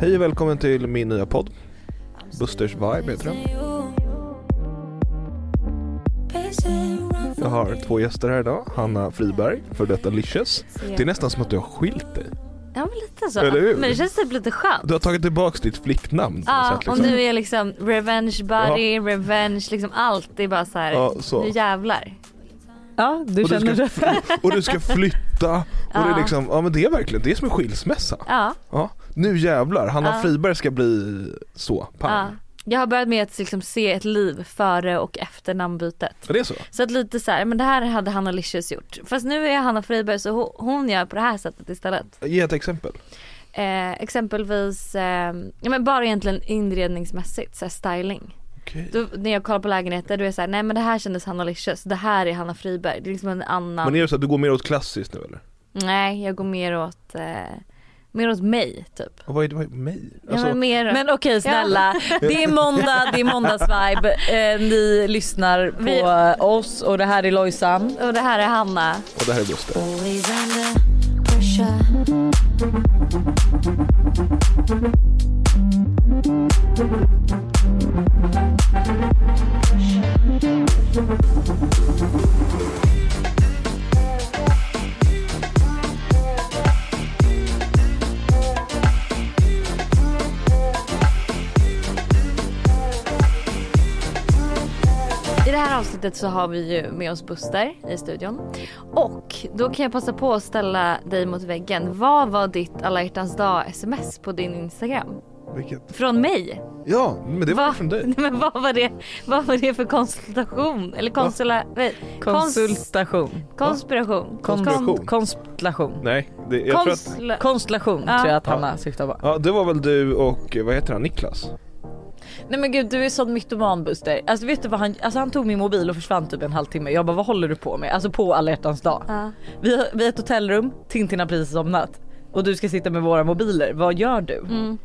Hej och välkommen till min nya podd. Busters Vibe heter den. Jag har två gäster här idag. Hanna Friberg, för detta Licious. Det är nästan som att du har skilt dig. Ja men lite så. Eller hur? Men det känns typ lite skönt. Du har tagit tillbaka ditt flicknamn. på Ja, något sätt, om liksom. du är liksom revenge buddy, revenge, liksom allt. Det är bara så här, Ja, så. nu jävlar. Ja, du Och du känner ska- det. Och du ska flytta. Och det är Ja. liksom, ja men det är verkligen, det är som en skilsmässa. Ja, Ja. Nu jävlar, Hanna Ja. Friberg ska bli så, ja. pang. Jag har börjat med att liksom se ett liv före och efter namnbytet. Ja. Det är så? Så att lite så här, men det här hade Hanna Licious gjort. Fast nu är jag Hanna Friberg så ho- hon gör på det här sättet istället. Ge ett exempel. Eh, exempelvis, eh, ja men bara egentligen inredningsmässigt, så här styling. Okej. Då, när jag kollar på lägenheter då är jag såhär, nej men det här kändes Hanna Licious, det här är Hanna Friberg. Det är liksom en annan Men är det så att du går mer åt klassiskt nu eller? Nej, jag går mer åt, eh, mer åt mig typ. Och vad är, vad är mig? Alltså, ja, men mer, Alltså- Men okej snälla, det är måndag, det är måndagsvibe. Eh, ni lyssnar på Vi- eh, oss och det här är Lojsan. och det här är Hanna. och det här är Buster. Always under pressure. I det här avsnittet så har vi ju med oss Buster i studion. Och då kan jag passa på att ställa dig mot väggen. Vad var ditt alla hjärtans dag sms på din Instagram? Vilket? Från mig? Ja, men det var Vad- från dig. Nej, men vad var det, vad var det för konsultation? Eller konsula, nej, Kons, Konsultation. konspiration? Konspiration. Konstlation. Nej, det, jag tror att... Konsla, Konstellation Ja. tror jag att Ja. Hanna syftar på. Ja, det var väl du och, eh, vad heter han, Niklas? Nej men gud du är sån mytoman Buster. Alltså vet du vad han, alltså han tog min mobil och försvann typ en halvtimme. Jag bara vad håller du på med? Alltså på alla hjärtans dag. ja. Vi har, vi har ett hotellrum, Tintin har precis somnat och du ska sitta med våra mobiler. Vad gör du? Mm.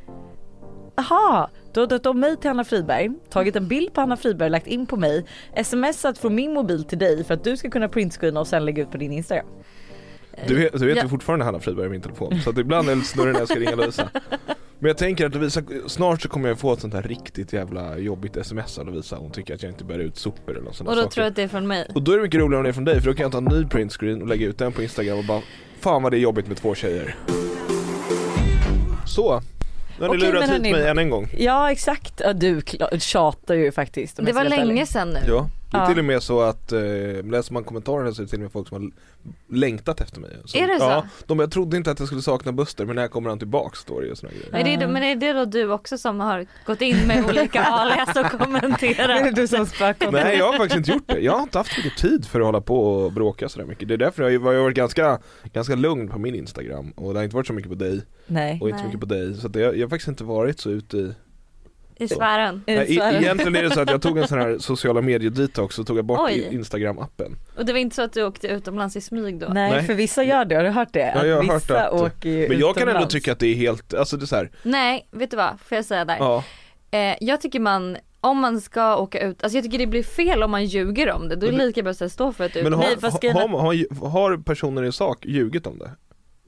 Aha, du har döpt om mig till Hanna Friberg, tagit en bild på Hanna Friberg, lagt in på mig, smsat från min mobil till dig för att du ska kunna printscreena och sen lägga ut på din Instagram. Du, vet- du vet Eh, Ja. ju fortfarande Hanna Friberg i min telefon så att ibland är det snurrig när jag ska ringa Lovisa. Men jag tänker att Lovisa, snart så kommer jag få ett sånt här riktigt jävla jobbigt sms av Lovisa. Hon tycker att jag inte bär ut sopor eller något sånt Och där då saker. tror jag att det är från mig. Och då är det mycket roligare om det är från dig för då kan jag ta en ny printscreen och lägga ut den på Instagram och bara Fan vad det är jobbigt med två tjejer. Så, nu har ni Okej, lurat men hit hörni- mig än en gång. Ja exakt, ja, du kla- tjatar ju faktiskt. om Det jag ska var vara helt länge ärlig. sedan nu. Ja, det är Ja. till och med så att eh, läser man kommentarerna så är det till och med folk som har längtat efter mig. Så, Är det så? Ja, de, jag trodde inte att jag skulle sakna Buster men när kommer han tillbaks står det ju och såna grejer. Men, Mm. det är, men är det då du också som har gått in med olika alias och Är det kommenterat? du som spökar? Nej jag har faktiskt inte gjort det. Jag har inte haft mycket tid för att hålla på och bråka sådär mycket. Det är därför jag har ju- jag har varit ganska, ganska lugn på min Instagram och det har inte varit så mycket på dig Nej. och inte så Nej. mycket på dig. Så att det, jag har faktiskt inte varit så ute i I sfären. Är det Nej, så här? e- egentligen är det så att jag tog en sån här sociala medier-detox och tog jag bort Oj. i- Instagram-appen. Och det var inte så att du åkte utomlands i smyg då? Nej, Nej. för vissa gör det, har du hört det? Ja, jag har hört vissa att- åker ju Men jag kan ändå utomlands. tycka att det är helt, alltså det är så här, Nej, vet du vad? Får jag säga där? ja, Eh, jag tycker man, om man ska åka ut, alltså jag tycker det blir fel om man ljuger om det. Då är det Men- lika bra att stå för att du men Nej, har, fast har, grejen är- har, har, har personer i sak ljugit om det?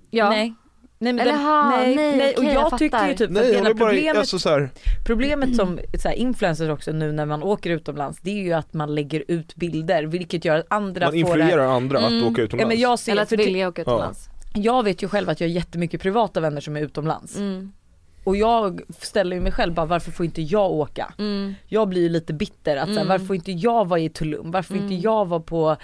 ja. Nej. Nej, men Eller den- ha, nej, och okej, jag, jag tycker fattar. ju typ Nej, att jag hela håller problemet, bara, alltså så här, problemet som så här, influencers också nu när man åker utomlands det är ju att man lägger ut bilder vilket gör att andra man får det här. influerar andra att Mm. åka Ja, utomlands. men jag, ser, Eller att för det, vilja åka utomlands. jag vet ju själv att jag har jättemycket privata vänner som är utomlands Mm. och jag ställer ju mig själv bara varför får inte jag åka? Mm. Jag blir ju lite bitter att så här, Mm. varför får inte jag vara i Tulum? Varför får inte jag vara på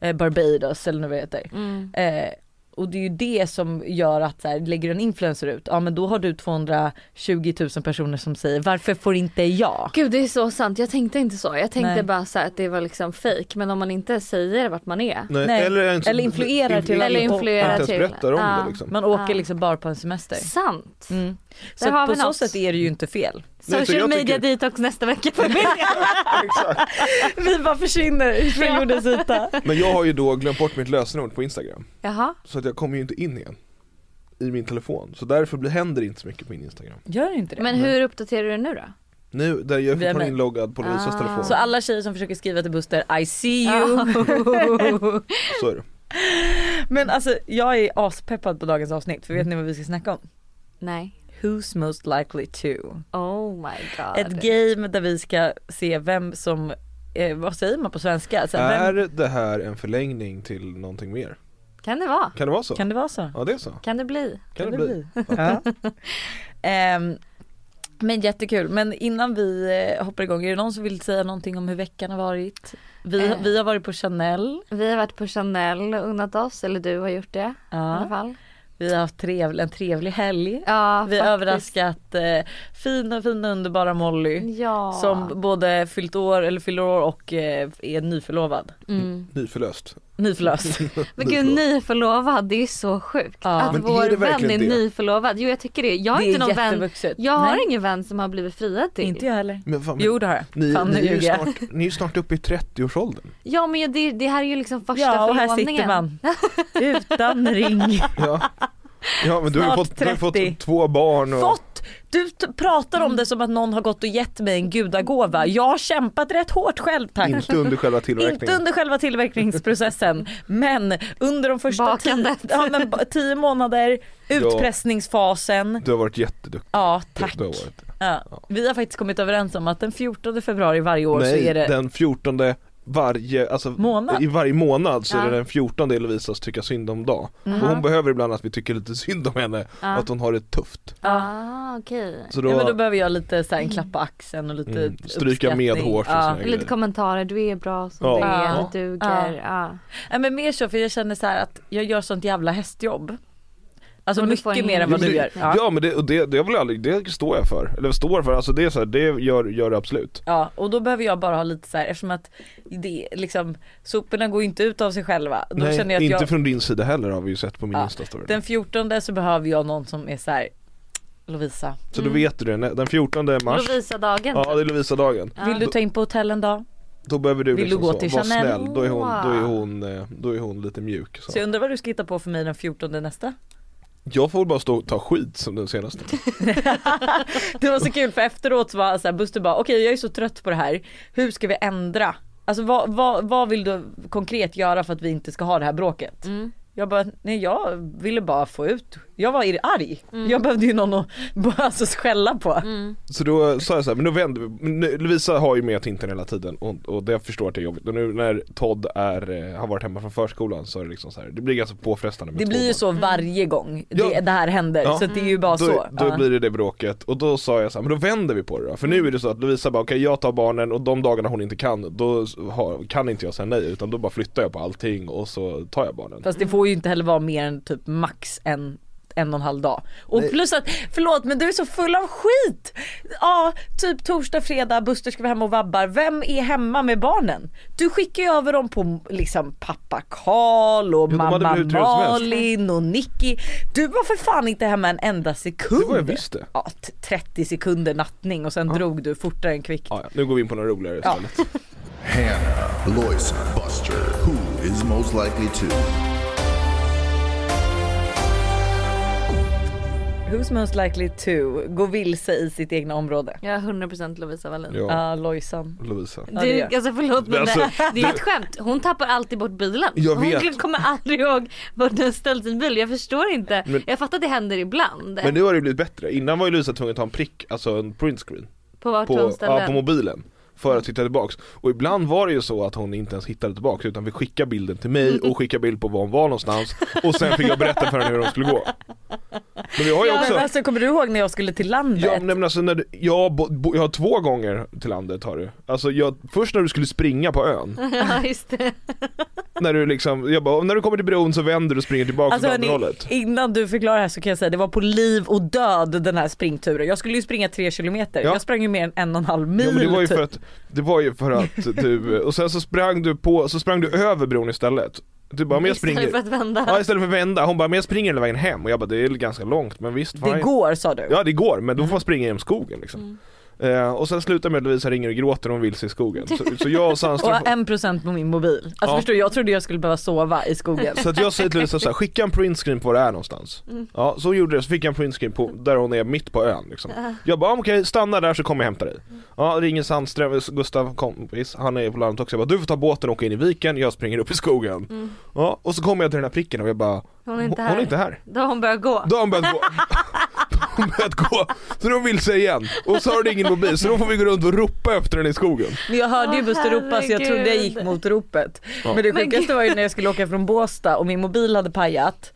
eh, Barbados eller vad det heter? Mm. Eh, och det är ju det som gör att så här, lägger en influencer ut, ja men då har du 220 000 personer som säger varför får inte jag? Gud det är så sant, jag tänkte inte så. Jag tänkte Nej. bara så här att det var liksom fake men om man inte säger vart man är. Nej, nej. Eller, ens, Eller influerar till- Eller Och- influerar inte ens till. berättar om Ja. det liksom. Man åker Ja. liksom bara på en semester. Sant. Mm. Så Där har att på vi så något. sätt är det ju inte fel. Nej, så Social jag media tycker- detox nästa vecka för mig. Exakt. Vi bara försvinner från jordens yta. Men jag har ju då glömt bort mitt lösenord på Instagram, Jaha. så att jag kommer ju inte in igen i min telefon. Så därför blir- händer det inte så mycket på min Instagram. Gör inte det? Mm. Men hur uppdaterar du det nu då? Nu, där jag är Via fortfarande mig. inloggad på Lovisas Ah. telefon. Så Så, alla tjejer som försöker skriva till Buster, I see you. Ah. är det. Men alltså jag är aspeppad på dagens avsnitt för vet ni vad vi ska snacka om? Nej. Who's most likely to? Oh my god. Ett game där vi ska se vem som, eh, vad säger man på svenska? Så här, Är vem, det här en förlängning till någonting mer? Kan det vara? Kan det vara så? kan det vara så? Ja det är så. Kan, Kan det bli? det, bli? Ja. Ehm, men jättekul, men innan vi eh, hoppar igång, är det någon som vill säga någonting om hur veckan har varit? Vi, Eh. vi har varit på Chanel, Vi har varit på Chanel och unnat oss, eller du har gjort det i alla ja. fall. vi har haft trevlig, en trevlig helg. Ja, Vi faktiskt. har överraskat eh, fina, fina underbara Molly Ja. som både fyllt år, eller fyller år och eh, är nyförlovad. Mm. Nyförlöst. Nyförlöst. Men gud nyförlovad, det är ju så sjukt. Ja. Att Men är vår det vän är verkligen det? nyförlovad. Jo jag tycker det. Jag har det inte är någon vän. jättevuxet. Jag har Nej, ingen vän som har blivit friad till. Inte jag heller. Men fan, men, Jo det har jag. ni, Fan, nu ni, är ju ljuger jag. snart, ni är ju snart uppe i 30-årsåldern. Ja men det, det här är ju liksom första Ja och här sitter förlovningen. man. Utan ring. Ja. ja men du har ju Snart fått, du har ju 30. fått två barn och... Fått! Du t- pratar om det som att någon har gått och gett mig en gudagåva. Jag har kämpat rätt hårt själv tack. Inte under själva Inte tillverkningen. under själva tillverkningsprocessen men under de första tio, Bakandet. ja, men ba- tio månader, utpressningsfasen. Du har varit jätteduktig. Ja Du- tack. Du har varit. Ja. Vi har faktiskt kommit överens om att den 14 februari varje år Nej, så är det den 14 varje, alltså Månad. i varje månad så Ja. är det den 14 i Lovisas tycka synd om dag. Mm. Och hon behöver ibland att vi tycker lite synd om henne, Ja. att hon har det tufft. Ah, okej. Så Ja, men då då, behöver jag lite så här, en klapp på axeln och lite Mm, stryka uppskattning. medhårs och ja. sådär. Lite kommentarer, du är bra som Ja. du är, Ja. du duger. Ja. Ja. Nej, men mer så för jag känner så här att jag gör sånt jävla hästjobb. Alltså Och du får mycket en- mer än vad Jo, men du det- gör. Ja. ja men det, och det, det, har väl aldrig, det står jag för, eller står för, alltså det är så här, det gör, gör det absolut. Ja och då behöver jag bara ha lite så här eftersom att det är liksom soporna går ju inte ut av sig själva. Då Nej, känner jag att inte jag, från din sida heller har vi ju sett på min Ja, instastory. den 14 så behöver jag någon som är så här Lovisa, Så då vet du det, den 14 mars, Lovisa-dagen. ja det är Lovisa-dagen. Ja. vill du ta in på hotell en dag? Då behöver du Vill du liksom gå så, till vara Chanel? snäll, då är, hon, då, är hon, eh, då är hon lite mjuk. Så. Så jag undrar vad du ska hitta på för mig den 14 nästa? Jag får väl bara stå och ta skit som den senaste. Det var så kul för efteråt så var så här, Buster bara okej jag är så trött på det här, hur ska vi ändra? Alltså vad, vad, vad vill du konkret göra för att vi inte ska ha det här bråket? Mm. Jag bara, nej jag ville bara få ut, jag var arg. Mm. Jag behövde ju någon att bara alltså, skälla på. mm. Så då sa jag så här, men nu vänder vi, men nu, Lovisa har ju med Tintin hela tiden och, och det jag förstår att det är jobbigt. Och nu när Todd är, eh, har varit hemma från förskolan så är det liksom så här, det blir ganska påfrestande med Det två blir ju barn. så varje gång det, Ja. det här händer Ja. Mm. så att det är ju bara så. Då, då Ja. Mm. blir det det bråket och då sa jag så här, men då vänder vi på det då. För nu är det så att Lovisa bara, okej jag tar barnen och de dagarna hon inte kan, då har, kan inte jag säga nej utan då bara flyttar jag på allting och så tar jag barnen. Fast det får ju inte heller vara mer än typ max en en och en halv dag. Och plus att, förlåt men du är så full av skit! Ja, typ torsdag, fredag, Buster ska vara hemma och vabbar. Vem är hemma med barnen? Du skickar ju över dem på liksom pappa Karl och de hade mamma väl hur trevligt som helst. Malin och Nicky. Du var för fan inte hemma en enda sekund. Det var jag visst det. Ja, t- 30 sekunder nattning och sen drog du fortare än kvickt. Ja, ja, nu går vi in på något roligare Ja. istället. Hannah, Lois, Buster. Who is most likely to? Who's most likely to gå vilse i sitt egna område? Jag är 100% Lovisa Wallin. Ja, Ja, Lojsan. Lovisa. Ja, det Du, gör jag. alltså förlåt men Alltså, det, det är ett skämt. Hon tappar alltid bort bilen. Jag Hon vet. kommer aldrig ihåg var den har ställt sin bil. Jag förstår inte. Men- jag fattar att det händer ibland. Men nu har det blivit bättre, innan var ju Lovisa tvungen att ta en prick, alltså en printscreen. på vart hon på, ställde ja, på den. mobilen för Mm. att hitta tillbaks och ibland var det ju så att hon inte ens hittade tillbaks utan fick skicka bilden till mig och skicka bild på var hon var någonstans och sen fick jag berätta för henne hur hon skulle gå Men jag har ju Ja, men också, alltså, kommer du ihåg när jag skulle till landet? jag, nej, men alltså när du, jag, bo, bo, jag har två gånger till landet har du Alltså jag, först när du skulle springa på ön, ja just det. när du liksom, jag bara, när du kommer till bron så vänder du och springer tillbaks Alltså åt andra hörni, hållet innan du förklarar här så kan jag säga det var på liv och död den här springturen. Jag skulle ju springa tre kilometer. Ja. Jag sprang ju mer än en och en halv mil. Ja, men det var ju för typ. att, det var ju för att du, och sen så sprang du på, så sprang du över bron istället Du bara, men jag Istället springer för att vända. Ja istället för att vända, hon bara men jag springer hela vägen hem och jag bara det är ganska långt men visst det fine. går Mm. sa du. Ja det går men då får man springa genom skogen liksom Eh, och sen slutar med att Lovisa ringer och gråter och hon vill sig i skogen. Så, så jag och Och Sandström en procent på min mobil. Alltså Ja. förstår du, jag trodde jag skulle behöva sova i skogen. Så att jag säger till Lovisa så här, skicka en printscreen på var det är någonstans. Mm. Ja, så hon gjorde det, så fick jag en printscreen på där hon är mitt på ön liksom. Jag bara, "Ja, men okej stanna där så kommer jag hämta dig. Mm. Ja, ringer Sandström, Gustav kompis, han är på landet också. Jag bara, du får ta båten och åka in i viken, jag springer upp i skogen. Ja, och så kommer jag till den här pricken och jag bara, Mm. Hon är inte Hon här. är inte här. Då har hon börjat gå. Då har hon börjat gå. Hon har börjat gå, så de vill sig igen. Och så har det ingen mobil, så då får vi gå runt och ropa efter den i skogen. Men jag hörde ju Åh, Buster ropa så jag herregud. trodde jag gick mot ropet. Ja. Men det Men sjukaste gud. var ju när jag skulle åka från Båstad och min mobil hade pajat.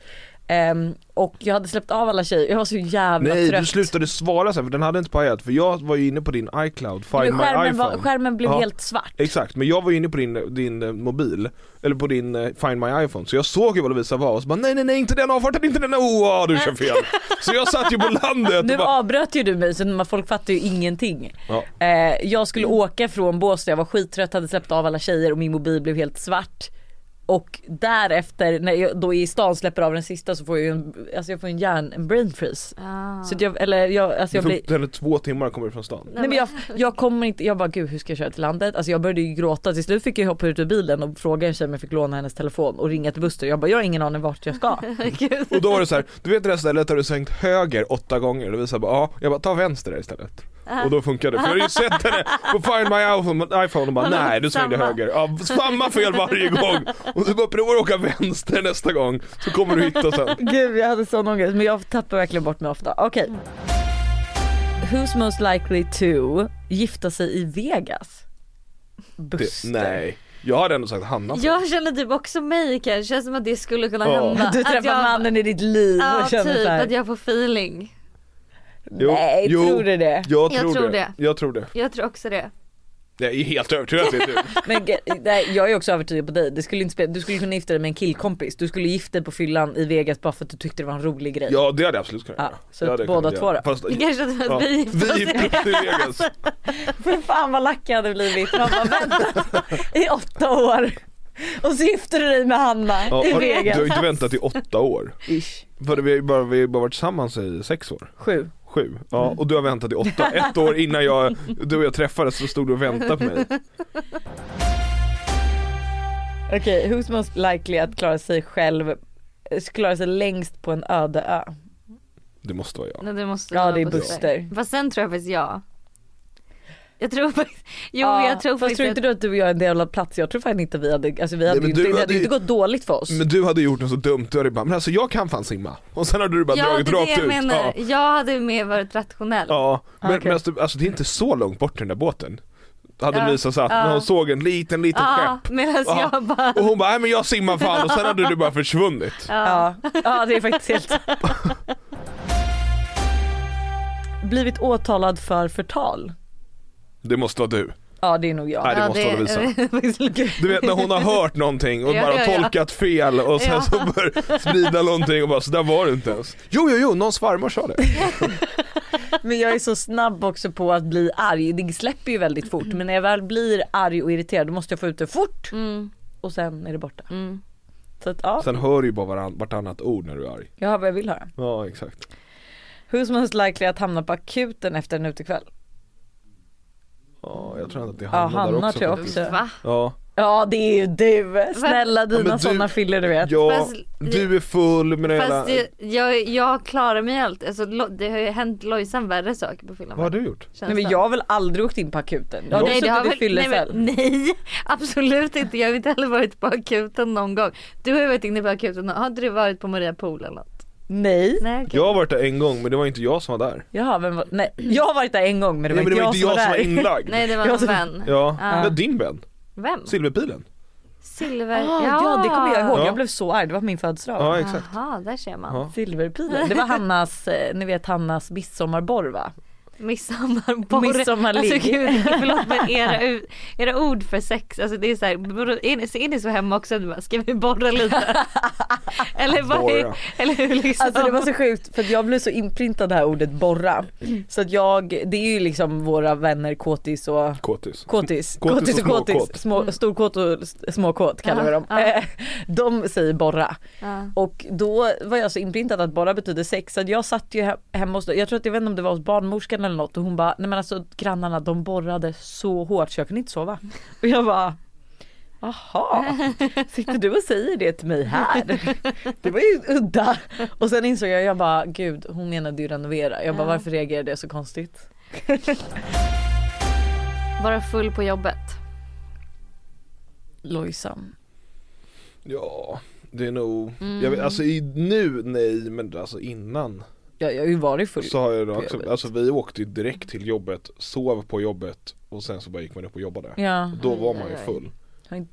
Ehm, och jag hade släppt av alla tjejer, jag var så jävla Nej, trött. du slutade svara sen för den hade inte pajat, för jag var ju inne på din iCloud, find Men my iPhone. skärmen, var, skärmen blev Ja. helt svart. Exakt, men jag var inne på din, din eh, mobil, eller på din eh, Find My iPhone, så jag såg ju vad Lovisa var och så bara nej nej nej inte den avfarten, inte den, åh du kör fel! Så jag satt ju på landet Nu och bara, avbröt ju du mig så man- folk fattar ju ingenting. ja. Eh, jag skulle åka från Båstad, jag var skittrött, hade släppt av alla tjejer och min mobil blev helt svart. Och därefter när jag då i stan släpper av den sista så får jag ju en, alltså jag får en hjärn, en brain freeze. Ah. Så att jag, eller jag, alltså Det jag blir tog henne två timmar att komma ut från stan. Nej men jag, jag kommer inte, jag bara gud hur ska jag köra till landet? Alltså jag började ju gråta, till slut fick jag hoppa ut ur bilen och fråga en tjej om jag fick låna hennes telefon och ringa till Buster. Jag bara jag har ingen aning vart jag ska. Gud. Och då var det så här, du vet det där stället där du svängt höger åtta gånger? Lovisa bara ja, jag bara ta vänster där istället. Och då funkade det, för jag hade ju sett henne på Find My iPhone- iPhone och bara nej du svängde Samma. höger. Ja, samma fel varje gång! Och du bara provar att åka vänster nästa gång så kommer du hitta sen. gud jag hade sån ångest men jag tappar verkligen bort mig ofta. Okej. Mm. Who's most likely to gifta sig i Vegas? Det, Buster. nej, jag hade ändå sagt Hanna. Jag känner typ också mig kanske, det känns som att det skulle kunna Ja. hända. Du Att träffar jag- mannen i ditt liv Ja och känner typ, så här, att jag får feeling. Jo, Nej jo. tror du det? Jag Jag tror, det. tror det. Jag tror det. Jag tror också det. Jag är helt övertygad att det är du. Men ge- nej, jag är också övertygad på dig. Det skulle inte spela, du skulle kunna gifta dig med en killkompis. Du skulle gifta dig på fyllan i Vegas bara för att du tyckte det var en rolig grej. Ja det hade jag absolut kunnat Ja, göra. så Det hade jag båda kunnat två göra. då? Fast, Det kanske inte är ja. att vi gifter Vi oss. gifte oss i Vegas. För fan vad lack jag hade blivit. Man bara väntat i åtta år. Och så gifter du dig med Hanna Ja, i har- du Vegas. har ju inte väntat i åtta år. Ish. För vi har ju bara, vi har ju bara varit tillsammans i sex år. Sju. Sju. Mm. Ja, och du har väntat i åtta. Ett år innan jag, du och jag träffades så stod du och väntade på mig. Okej, who's most likely att klara sig själv, eh, klara sig längst på en öde ö? Det måste vara jag. Nej, det måste Ja, vara det är Buster. Fast sen tror jag faktiskt jag. Jag tror faktiskt, jo Ja, jag tror Fast faktiskt tror inte att, du att du och jag är en del av plats? Jag tror fan inte vi hade, alltså vi hade, men ju inte, du det hade hade ju ju- inte gått dåligt för oss. Men du hade gjort något så dumt, du hade bara, men alltså jag kan fan simma. Och sen hade du bara ja dragit det är det rakt jag ut. menar. Ja. Jag hade mer varit rationell. Ja, typ men, Ah, okej. men alltså, alltså det är inte så långt bort den där båten. Hade Ja, Lisa satt ja. när hon såg en liten, liten Ja, skepp. medan Ja. jag bara, Och hon bara, nej men jag simmar fan och sen hade du bara försvunnit. Ja. ja, det är faktiskt helt sant. Blivit åtalad för förtal. Det måste vara du. Ja det är nog jag. Nej, det Ja, måste vara Lovisa. det- Du vet när hon har hört någonting och Ja, bara ja, ja. tolkat fel och sen Ja. så börjar sprida någonting och bara så där var det inte ens. Jo jo jo, någon svärmor sa det. Men jag är så snabb också på att bli arg. Det släpper ju väldigt fort men när jag väl blir arg och irriterad då måste jag få ut det fort Mm, och sen är det borta. mm. Så att ja, Sen hör du ju bara varann, vartannat ord när du är arg. jag har vad jag vill höra. Ja exakt. Who's most likely att hamna på akuten efter en utekväll? Ja, jag tror att det Ja handlar där Hanna också. tror jag faktiskt. också. Va? Ja, Ja det är ju du. Snälla Ja, men dina du- sådana filler du vet. ja Fast- du är full med den Fast jävla... jag, jag, jag klarar mig allt. Alltså, lo- det har ju hänt Lojsan värre saker på fyllan. Vad har du gjort? Känns Nej men det. jag har väl aldrig åkt in på akuten? Jag har Nej, nej, det har suttit i väl, nej, fyllecell. men, nej absolut inte. Jag har inte heller varit på akuten någon gång. Du har ju varit inne på akuten. Har inte du varit på Maria Pool eller något? Nej. Nej okej. Jag har varit där en gång men det var inte jag som var där. Jaha, vem var, nej, jag har varit där en gång men det var, Nej, men det var inte jag som var där. inlagd. Nej det var Jag någon som- vän. Ja, Ja. det var din vän, Vem? silverpilen. Silver? Ah, ja. det kommer jag ihåg, Ja. jag blev så arg, det var på min födelsedag. Ja exakt. Jaha, där ser man. Ja. Silverpilen, det var Hannas, eh, ni vet Hannas midsommarborr va? Midsommarborr. Midsommarligg. Alltså gud, förlåt men era, u- era ord för sex, alltså det är så här, bro- är ni, så är ni så hemma också? Du bara, ska vi borra lite? eller vad Borra. är, eller hur liksom? Alltså det var så sjukt för att jag blev så inprintad det här ordet borra. Så att jag, det är ju liksom våra vänner kåtis och Kåtis. Kåtis, Kåtis och kåtis och småkåt. kåtis, små, storkåt och s- småkåt kallar vi Mm. Ja, dem. ja. Eh, De säger borra. Ja. Och då var jag så inprintad att borra betyder sex så att jag satt ju he- hemma hos, jag tror att jag vet inte om det var hos barnmorskan hem eller något och hon bara, nej men alltså grannarna de borrade så hårt så jag kunde inte sova. Och jag bara, Jaha, sitter du och säger det till mig här? Det var ju udda. Och sen insåg jag, jag bara gud hon menade ju renovera. Jag bara varför reagerade jag så konstigt? Vara full på jobbet. Lojsan. Ja, det är nog, Mm. jag vet, alltså i, nu nej men alltså innan Jag, jag har ju varit full. så har jag då på också, jobbet. alltså vi åkte ju direkt till jobbet, sov på jobbet och sen så bara gick man upp och jobbade. Ja, Och Då var Aj, man ju aj, aj. full.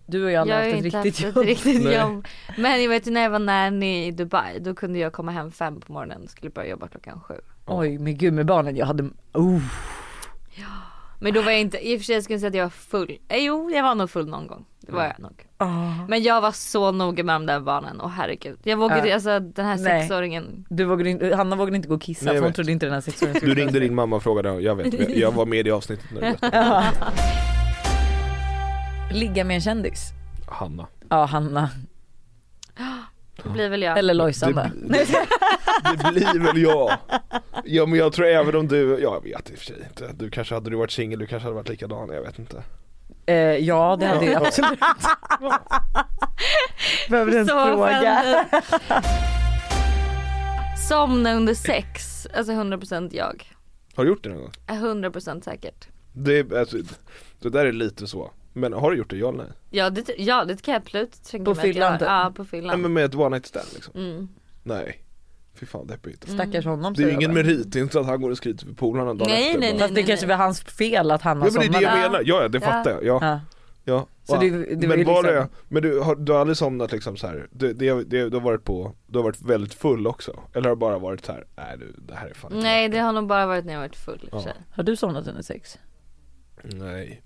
du och jag har Jag har aldrig ju haft inte ett riktigt haft jobb. ett riktigt Nej. jobb. Men jag vet ju när jag var nanny i Dubai då kunde jag komma hem fem på morgonen och skulle börja jobba klockan sju. Oj men gud med barnen, jag hade, oh. Men då var jag inte, i och för sig skulle jag säga att jag var full. Eh, jo jag var nog full någon gång. Det var jag nog. Ah. Men jag var så noga med de där barnen och herregud. Jag vågade, Ja. alltså den här Nej. sexåringen. Du vågade inte, Hanna vågade inte gå och kissa Nej, jag för hon vet. trodde inte den här sexåringen Du ringde din mamma och frågade, jag vet, jag var med i avsnittet nu. vet du. Ligga med en kändis. Hanna. Ja Hanna, Det blir väl jag. eller Lojsan då. Det, det, det blir väl jag. Ja men jag tror även om du, ja, jag vet i och för sig inte. Du kanske hade du varit singel, du kanske hade varit likadan, jag vet inte. Eh, ja det hade Ja. jag absolut. Behöver ens Så fråga. offended. Somna under sex, alltså 100% jag. Har du gjort det någon gång? 100% säkert. Det, är- alltså, det där är lite så. Men har du gjort det, ja eller nej? Ja det, ja, det kan jag absolut tänka På mig att jag fyllan har. typ? Ja på fyllan. Nej men med ett one night stand liksom? Mm. Nej. Fy fan deppigt. Stackars honom Det är ju säger ingen jag bara. merit, det är inte så att han går och skryter för polarna dagen Nej, efter. nej, bara. nej. Fast det kanske var hans fel att Hanna Ja men det är det somnade. jag Ja. menar, ja ja, det Ja. fattar jag. Ja, Ja. ja. Så Ja. det- det var men ju var liksom- det, men du har, du har aldrig somnat liksom så här. Du, det, det, du har varit på, du har varit väldigt full också? Eller har du bara varit så här, nej du det här är fan inte Nej värt det har nog bara varit när jag varit full i och för sig. Har du somnat under sex? det." Nej.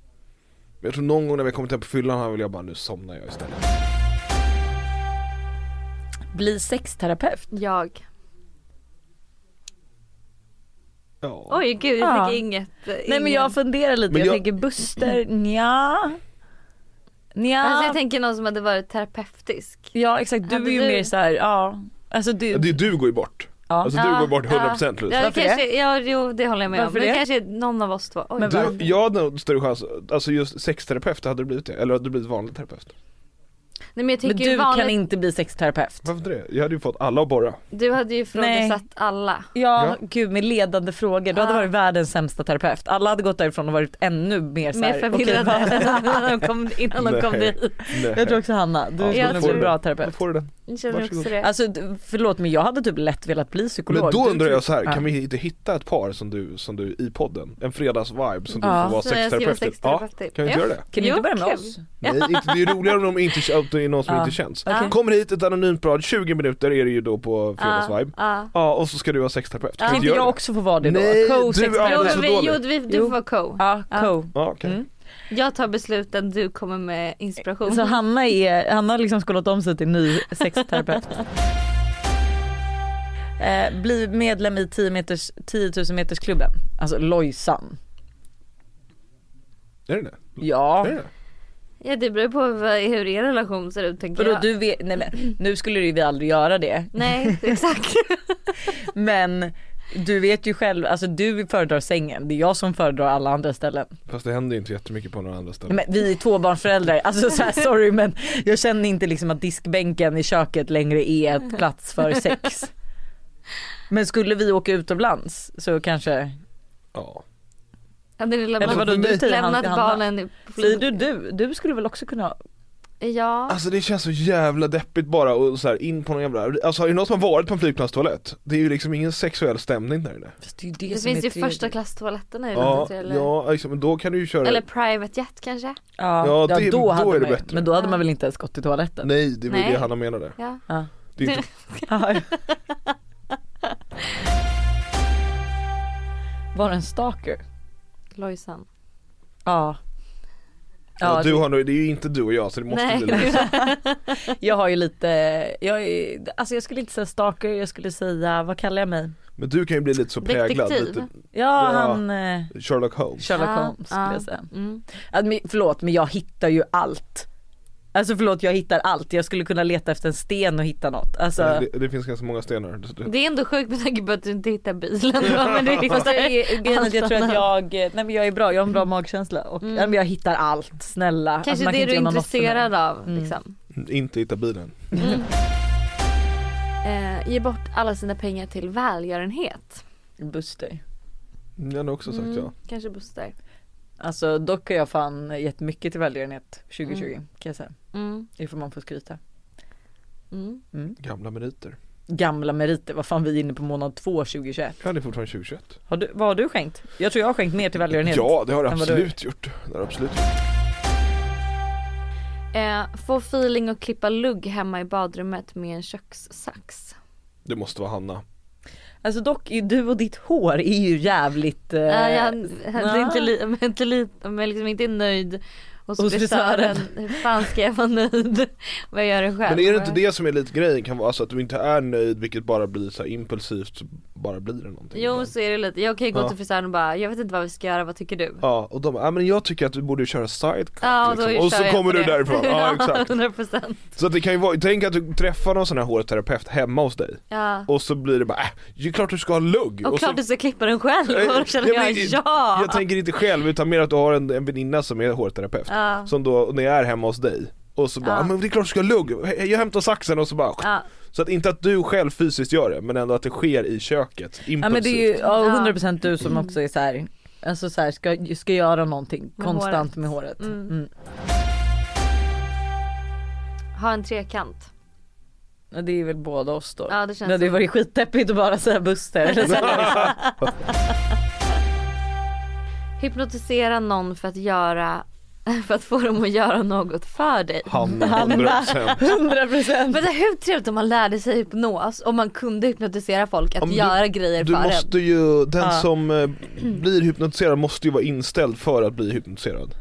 Men jag tror någon gång när vi kommit hem på fyllan här vill jag bara, nu somnar jag istället. Bli sexterapeut? Jag. Ja. Oj gud jag Ja. fick inget. eh, Nej men jag funderar lite, Men jag, jag- tänker Buster, nja. Nja. Alltså jag tänker någon som hade varit terapeutisk. Ja exakt, du Hade är ju du- mer såhär, ja. Alltså du, Ja, Det, du går ju bort. Ja. Alltså du Ja, går bort 100% ja. procent Ja, det Varför kanske, ja jo det håller jag med Varför om. Men det? kanske någon av oss två. Oj. Men Du, varför? jag hade nog större chans, alltså just sexterapeut hade du blivit det, eller hade du blivit vanlig terapeut? Nej men jag men tänker du vanligt, kan inte bli sexterapeut. Varför inte det? Jag hade ju fått alla att borra. du hade ju ifrågasatt alla. Ja, Ja. gud med ledande frågor. Du hade Ja. varit världens sämsta terapeut. Alla hade gått därifrån och varit ännu mer såhär. Mer okej, förvirrade vad- innan de kom, innan de kom Nej. dit. Nej. Jag tror också Hanna, du Ja, skulle då får nog bli en du bra Då terapeut. får du den. Jag känner också Varsågod. det. Alltså d- förlåt men jag hade typ lätt velat bli psykolog. Men då Du undrar tror- jag så här, Ja. kan vi inte hitta ett par som du, som du i podden? En fredagsvibe som du Ja. får vara Så jag ska sexterapeut vara till? Ja, sexterapeut till. kan vi inte Ja. göra det? Kan du Jo, inte börja med kul. oss? Nej, inte, det är roligare om de inte om det är någon som Ja. inte känns. Okej. Kommer hit ett anonymt prat, 20 minuter är det ju då på Ja, fredagsvibe. ja. Ja, och så ska du vara sexterapeut. Kan vi inte göra jag det? också få vara det då? Nej, du är sexterapeut. Jo alldeles men för vi, dålig. jo, vi, du Jo. får vara co. Ja, co. Ja, okej. Mm. Jag tar besluten, du kommer med inspiration. Så Hanna, är, Hanna har liksom skolat om sig till ny sexterapeut. eh, bli medlem i 10, meters, 10 000 meters klubben. Alltså Lojsan. Är det det? Ja. Är det det? Ja det beror på vad, hur er relation ser ut tänker Vadå, jag. du vet, nej, men, nu skulle ju vi aldrig göra det. Nej exakt. Men du vet ju själv, alltså du föredrar sängen. Det är jag som föredrar alla andra ställen. Fast det händer ju inte jättemycket på några andra ställen. Men vi är tvåbarnsföräldrar, alltså så här, sorry men jag känner inte liksom att diskbänken i köket längre är ett plats för sex. Men skulle vi åka utomlands så kanske, Ja. Hade ni lämnat, eller vadå du till lämnat Hanna? barnen i- på Säger flyg? du du? Du skulle väl också kunna, Ja. Alltså det känns så jävla deppigt bara och så här in på någon jävla, alltså är det någon som har varit på en flygplanstoalett? Det är ju liksom ingen sexuell stämning där inne. fast det är ju det, Det som finns är ju trevligt. första klasstoaletterna i Ja, landet eller? ja liksom, men då kan du ju köra Eller private jet kanske? Ja, Ja, ja det- då, då hade är det man, ju- bättre. Men då hade man väl inte ens gått till toaletten? Nej, det var ju Nej. det Hanna menade. Ja. Ja. Det är inte... Var en stalker? Lojsan. Ja. ja, du det- har, nog- det är ju inte du och jag så det måste Nej. bli liksom. Jag har ju lite, jag, är, alltså jag skulle inte säga stalker, jag skulle säga, vad kallar jag mig? Men du kan ju bli lite så präglad, Detektiv. lite Ja. Ja, han eh, Sherlock Holmes Sherlock Ja, Holmes skulle ja. jag säga. Mm. Att, men, förlåt men jag hittar ju allt. Alltså förlåt jag hittar allt. Jag skulle kunna leta efter en sten och hitta något. Alltså, Det, det finns ganska många stenar. Det- det- Det är ändå sjukt med tanke på att du inte hittar bilen. Ja, men det Fast det är, är, grejen är att jag tror att jag, nej men jag är bra, jag har en bra magkänsla och ja, men jag hittar allt, snälla. Alltså, Kanske man kan det inte du är göra något för intresserad mig. av. Liksom. Inte hitta bilen. Eh, ge bort alla sina pengar till välgörenhet. Mm. Buster. Jag hade också sagt ja. Kanske Buster. Alltså dock har jag fan gett mycket till välgörenhet 2020 kan jag säga. Mm. Det får man få skryta. Mm. Gamla meriter. Gamla meriter, vad fan vi är inne på månad två 2021. Ja det är fortfarande 2021. Har du, vad har du skänkt? Jag tror jag har skänkt mer till välgörenhet. Ja det har det än vad du- absolut gjort. Det har det absolut gjort. Eh, få feeling och klippa lugg hemma i badrummet med en kökssax. Det måste vara Hanna. Alltså dock, är du och ditt hår är ju jävligt... Eh, Eh, jag hade ja. inte li- om jag inte li- om jag liksom inte är nöjd hos, Hos frisören. frisören. Hur fan ska jag vara nöjd? Vad jag gör det själv. Men är det inte det som är lite grejen? Kan vara så att du inte är nöjd vilket bara blir så här impulsivt så bara blir det någonting. Jo men så är det lite. Jag kan ju gå Ja. till frisören och bara jag vet inte vad vi ska göra, vad tycker du? Ja och de bara, ja men jag tycker att du borde köra sidecut Ja, och då liksom. Och kör så jag kommer på du det. därifrån. Ja exakt. 100%. Så att det kan ju vara, tänk att du träffar någon sån här hårterapeut hemma hos dig. Ja. Och så blir det bara, äh, det är klart du ska ha lugg. Och, så, klart du ska klippa den själv Eh, och då känner ja, jag men- ja! Jag tänker inte själv utan mer att du har en, en väninna som är hårterapeut. Ja. Som då, när jag är hemma hos dig. Och så bara, Ja. "Ah, men det är klart du ska ha lugg. He- Jag hämtar saxen och så bara Ja. Så att inte att du själv fysiskt gör det men ändå att det sker i köket. Impulsivt. Ja men det är ju ja, 100% du som också är så här. Alltså så här, ska, ska göra någonting Med konstant håret. med håret. Mm. Mm. Ha en trekant. Ja, Det är väl båda oss då. Ja, det känns hade ju så. varit skitdeppigt att bara säga Buster. Eller så här. Hypnotisera någon för att göra för att få dem att göra något för dig. Hanna, Hanna. 100%. 100%. Men det, hur trevligt om man lärde sig hypnos och man kunde hypnotisera folk att Om du- göra grejer Du för måste ju, den Ja. som eh, blir hypnotiserad måste ju vara inställd för att bli hypnotiserad.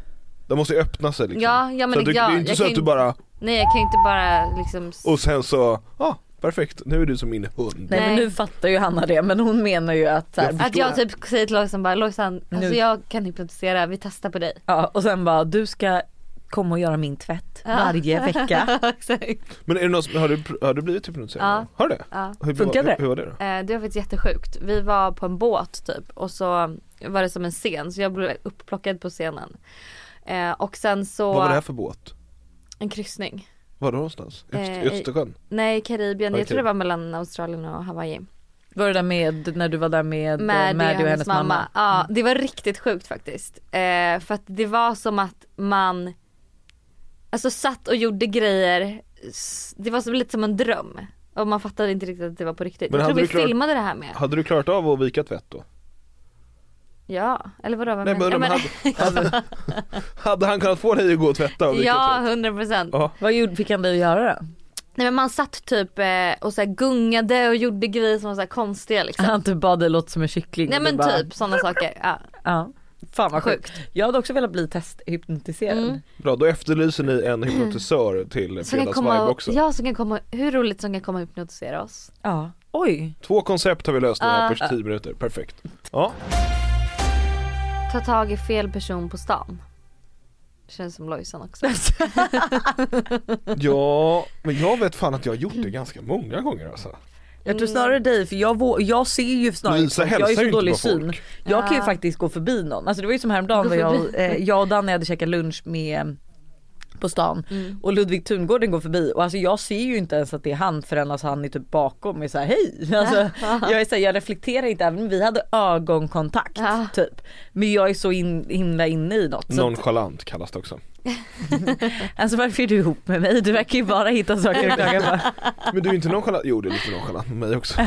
Den måste ju öppna sig liksom. Ja, ja, men så att du, ja, det är inte jag så kan att du ju- bara, en. Nej jag kan ju inte bara liksom s- och sen så, ja ah, perfekt, nu är du som min hund. Nej Nej. men nu fattar ju Hanna det men hon menar ju att så här, att jag typ säger till Lojsan bara Lojsan alltså Nu- jag kan hypnotisera, vi testar på dig. ja, och sen bara du ska komma och göra min tvätt varje vecka. Exakt. Men är det någon som, har, du, pr- har du blivit hypnotiserad? Ja. Har du det? Ja. Hur, Funkar hur, det? hur var det då? Eh, Det var faktiskt jättesjukt. Vi var på en båt typ och så var det som en scen så jag blev upplockad på scenen. Eh, och sen så, Vad var det här för båt? en kryssning. Var det någonstans? I Öst- Eh, I Östersjön? Nej Karibien, Okej. jag tror det var mellan Australien och Hawaii. Var det där med när du var där med eh, Maddie och hennes, mamma? Mm. Ja det var riktigt sjukt faktiskt. Eh, för att det var som att man alltså satt och gjorde grejer, s- det var som, lite som en dröm. Och man fattade inte riktigt att det var på riktigt. Men jag tror hade vi du klarat- filmade det här med. Hade du klarat av att vika tvätt då? Ja, eller vadå? Vad Nej men, menar- undrar om Ja, hade, hade, hade han kunnat få dig att gå och tvätta och vika Ja, tvätt? hundra procent. Ja. Vad gjorde, fick han dig att göra då? Nej men man satt typ eh, och så här gungade och gjorde grejer som var så här konstiga liksom. Han typ bad dig låta som en kyckling. Nej och du men bara, typ sådana saker. Ja. Ja. Fan vad sjukt. Jag hade också velat bli testhypnotiserad. Mm. Bra, då efterlyser ni en hypnotisör till Som kan Fredags komma, också. ja, som kan komma, hur roligt som kan komma och hypnotisera oss. Ja. Oj. Två koncept har vi löst nu här på Ah. Ja. 10 minuter, perfekt. Ja, Ta tag i fel person på stan. Känns som Lojsan också. ja men jag vet fan att jag har gjort det ganska många gånger alltså. Jag tror Mm. snarare dig för jag, vå- jag ser ju snarare Lisa folk. jag hälsar är ju så inte dålig på folk. syn. Jag kan ju Ja. faktiskt gå förbi någon. Alltså det var ju som häromdagen Gå när jag, förbi. eh, jag och Danny hade käkat lunch med eh, på stan Mm. och Ludvig Tungården går förbi och alltså jag ser ju inte ens att det är han förrän alltså han är typ bakom och är såhär hej. Alltså, jag, är så här, jag reflekterar inte även om vi hade ögonkontakt Ja. typ. Men jag är så in, himla inne i något. Så, Nonchalant kallas det också. alltså varför är du ihop med mig? Du verkar ju bara hitta saker att klaga på. Men du är inte nonchalant, jo det är lite nonchalant med mig också.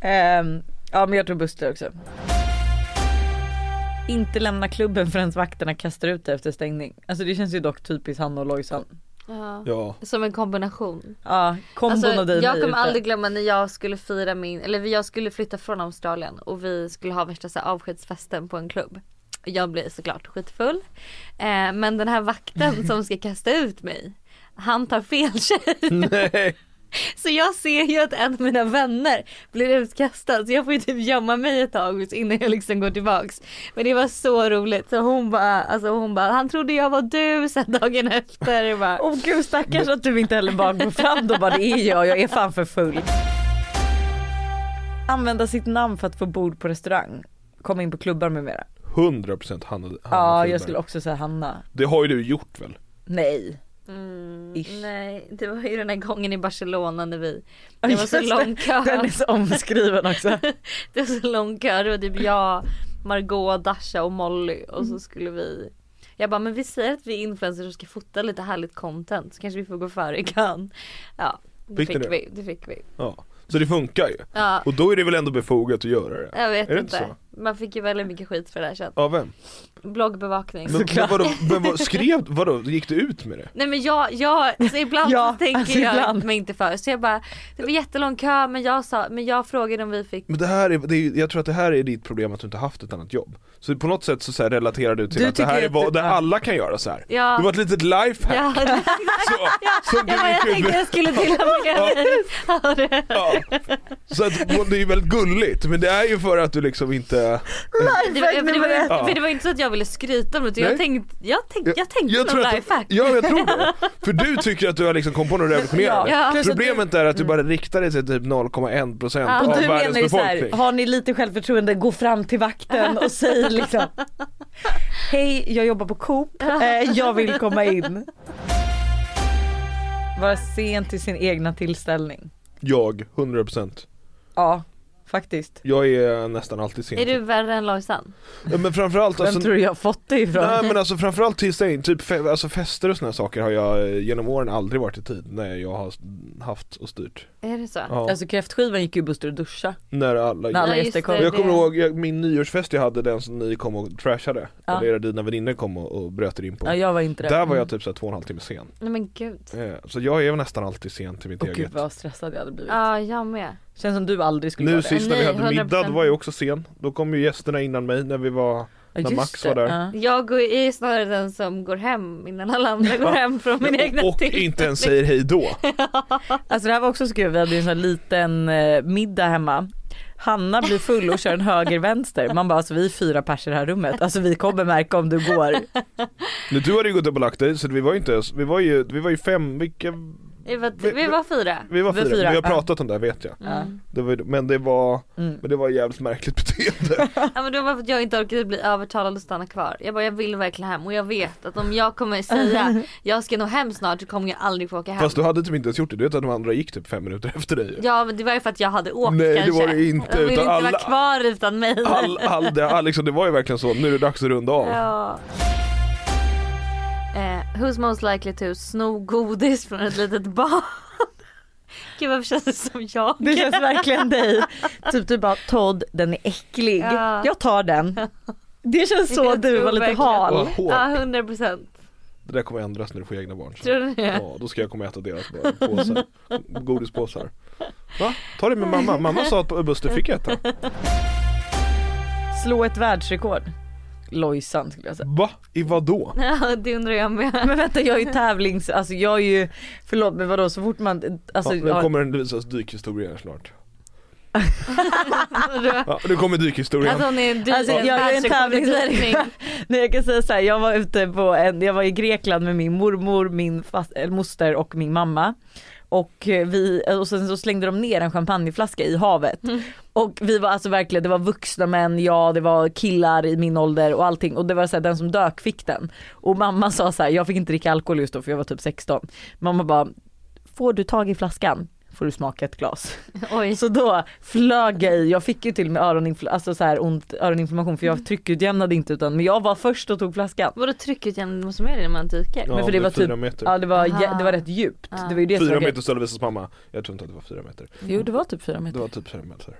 Ehm, ja men jag tror Buster också. Inte lämna klubben förrän vakterna kastar ut dig efter stängning. Alltså det känns ju dock typiskt han och Lojsan. Ja. Ja, Som en kombination. Ja, kombon Alltså, och dig jag mig kommer ute. aldrig glömma när jag skulle fira min, eller jag skulle flytta från Australien och vi skulle ha värsta så här, avskedsfesten på en klubb. Jag blev såklart skitfull. Eh, men den här vakten som ska kasta ut mig, han tar fel tjej. nej. Så jag ser ju att en av mina vänner blir utkastad så jag får ju typ gömma mig ett tag innan jag liksom går tillbaks. Men det var så roligt. Så hon bara, alltså hon bara, han trodde jag var du sen dagen efter. Jag bara, Åh gud stackars att du inte heller bara går fram då bara det är jag, jag är fan för full. Använda sitt namn för att få bord på restaurang. Komma in på klubbar med mera. 100% Hanna Hanna Ja Friberg. jag skulle också säga Hanna. Det har ju du gjort väl? Nej. Mm, Ish. nej, det var ju den här gången i Barcelona när vi, det var så Just det, lång kö. Den är så omskriven också. Det var så lång kö, det var typ jag, Margot, Dasha och Molly och Mm. så skulle vi jag bara men vi säger att vi är influencers och ska fota lite härligt content så kanske vi får gå före i kön. Ja det Fick fick, ni det? vi, det fick vi. Ja. Så det funkar ju. Ja Och då är det väl ändå befogat att göra det? jag vet Är det inte. inte Man fick ju väldigt mycket skit för det här sen. Ja vem? Bloggbevakning. Men, men vadå, men vad, skrev, vadå, gick du ut med det? Nej men jag, jag så ibland Ja, så tänker alltså jag ibland. mig inte för så jag bara det var jättelång kö men jag sa, men jag frågade om vi fick Men det här är, det är, jag tror att det här är ditt problem att du inte haft ett annat jobb Så på något sätt så, så här relaterar du till Du att det tycker här är att vad du- där alla kan göra så här. Ja. Det var ett litet lifehack Ja, ja, så, som du jag, bara, jag gick ut tänkte med. jag skulle dela med mig av det. Ja. Så att, och det är ju väldigt gulligt men det är ju för att du liksom inte Det var, men det, var, ju- Ja. för det var inte så att jag ville skryta om det utan Nej. jag tänkte, jag tänkte, jag tänkte jag tror någon att, lifehack. Ja jag tror det, för du tycker att du har liksom kommit på något revolutionerande Ja. Plus att Problemet är att du bara riktar dig till typ 0,1% Ja. av Och du världens menar ju såhär, befolkning har ni lite självförtroende, gå fram till vakten och säg liksom Hej, jag jobbar på Coop, eh, jag vill komma in. Vara sen till sin egna tillställning. Jag, 100% Ja, faktiskt. Jag är nästan alltid sen Är du värre än Lojsan? Ja, Men framförallt Vem alltså, tror du jag har fått det ifrån? Nej men alltså framförallt tillställning, typ fe- alltså fester och såna här saker har jag eh, genom åren aldrig varit i tid när jag har s- haft och styrt Är det så? ja. Alltså kräftskivan gick ju Buster och duscha När alla, när alla Ja, just gäster kom. det. Jag kommer ihåg jag, min nyårsfest jag hade, den som ni kom och trashade, Ja. eller era dina vänner kom och, och bröt er in på Ja, jag var inte det. Mm. Där var jag typ såhär två och en halv timme sen, Nej men gud. Ja, eh, så jag är nästan alltid sen till mitt Åh gud eget vad stressad jag hade blivit. jag med. Känns som du aldrig skulle Nu vara det. sist när vi Nej, hade 100%. middag då var jag också sen, då kom ju gästerna innan mig när vi var Ja, när just Max var det. där. Ja. Jag går- är snarare den som går hem innan alla andra går hem från min egna och tid. inte ens säger hej då. Alltså det här var också så kul, vi hade ju en sån här liten eh, middag hemma. Hanna blir full och kör en höger-vänster. Man bara alltså vi är fyra pers i det här rummet, alltså vi kommer märka om du går. Nu, du hade ju gått upp och lagt dig så vi var ju inte ens, vi var ju, vi var ju fem, vilka Vi var, vi var fyra. Vi var Vi var fyra, fyra, vi har ja. pratat om det här vet jag. Ja. Det var, ju- men, det var, Mm. men det var ett jävligt märkligt beteende. Ja men det var för att jag inte orkade bli övertalad att stanna kvar. Jag bara jag vill verkligen hem och jag vet att om jag kommer säga jag ska nog hem snart så kommer jag aldrig få åka hem. Fast du hade typ inte ens gjort det, du vet att de andra gick typ fem minuter efter dig ju. Ja men det var ju för att jag hade åkt Nej, det kanske. var det inte, Jag ville utan inte vara alla- kvar utan mig. All, all, det, all, liksom, det var ju verkligen så, nu är det dags att runda av. Ja. Eh, who's most likely to sno godis från ett litet barn? Gud varför känns det som jag? Det känns verkligen dig. Typ du bara Todd den är äcklig, Ja. jag tar den. Det känns så Jag du tror var lite verkligen- Åh, hal. hårt. Ja hundra procent. Det där kommer ändras när du får egna barn. Så. Tror du det? Ja, då ska jag komma och äta deras bara påsar, godispåsar. Va? Ta det med mamma, mamma sa att Buster fick äta. Slå ett världsrekord. Lojsan skulle jag säga. Va? I vadå? Ja det undrar jag med. Men vänta jag är ju tävlings, alltså jag är ju, förlåt men vadå så fort man, alltså ja, nu kommer en Luisas dykhistoria här snart. Undrar jag. Ja, nu kommer dykhistorien. Alltså hon är en dyr Alltså, jag är en tävlingsmänniska. Nej jag kan säga så här, jag var ute på en, jag var i Grekland med min mormor, min fast, eller moster och min mamma. Och, eh, vi, och sen så slängde de ner en champagneflaska i havet. Och vi var alltså verkligen, det var vuxna män, ja det var killar i min ålder och allting. Och det var så här, den som dök fick den. Och mamma sa så här, jag fick inte dricka alkohol just då för jag var typ 16. Mamma bara, får du tag i flaskan? Får du smaka ett glas. Oj. Så då flög jag i, jag fick ju till och med öroninfl- alltså så här ont öroninflammation för Mm. jag tryckutjämnade inte utan men jag var först och tog flaskan. Vadå tryckutjämning? Måste man göra det när man dyker? ja, Men- men för det var fyra typ- meter. Ja det var, jä- Aha. det var rätt djupt. Ja. Det var ju det som Fyra var meter sa Luisas mamma, jag tror inte att det var fyra meter. Jo det var typ fyra Det meter. var typ fem meter.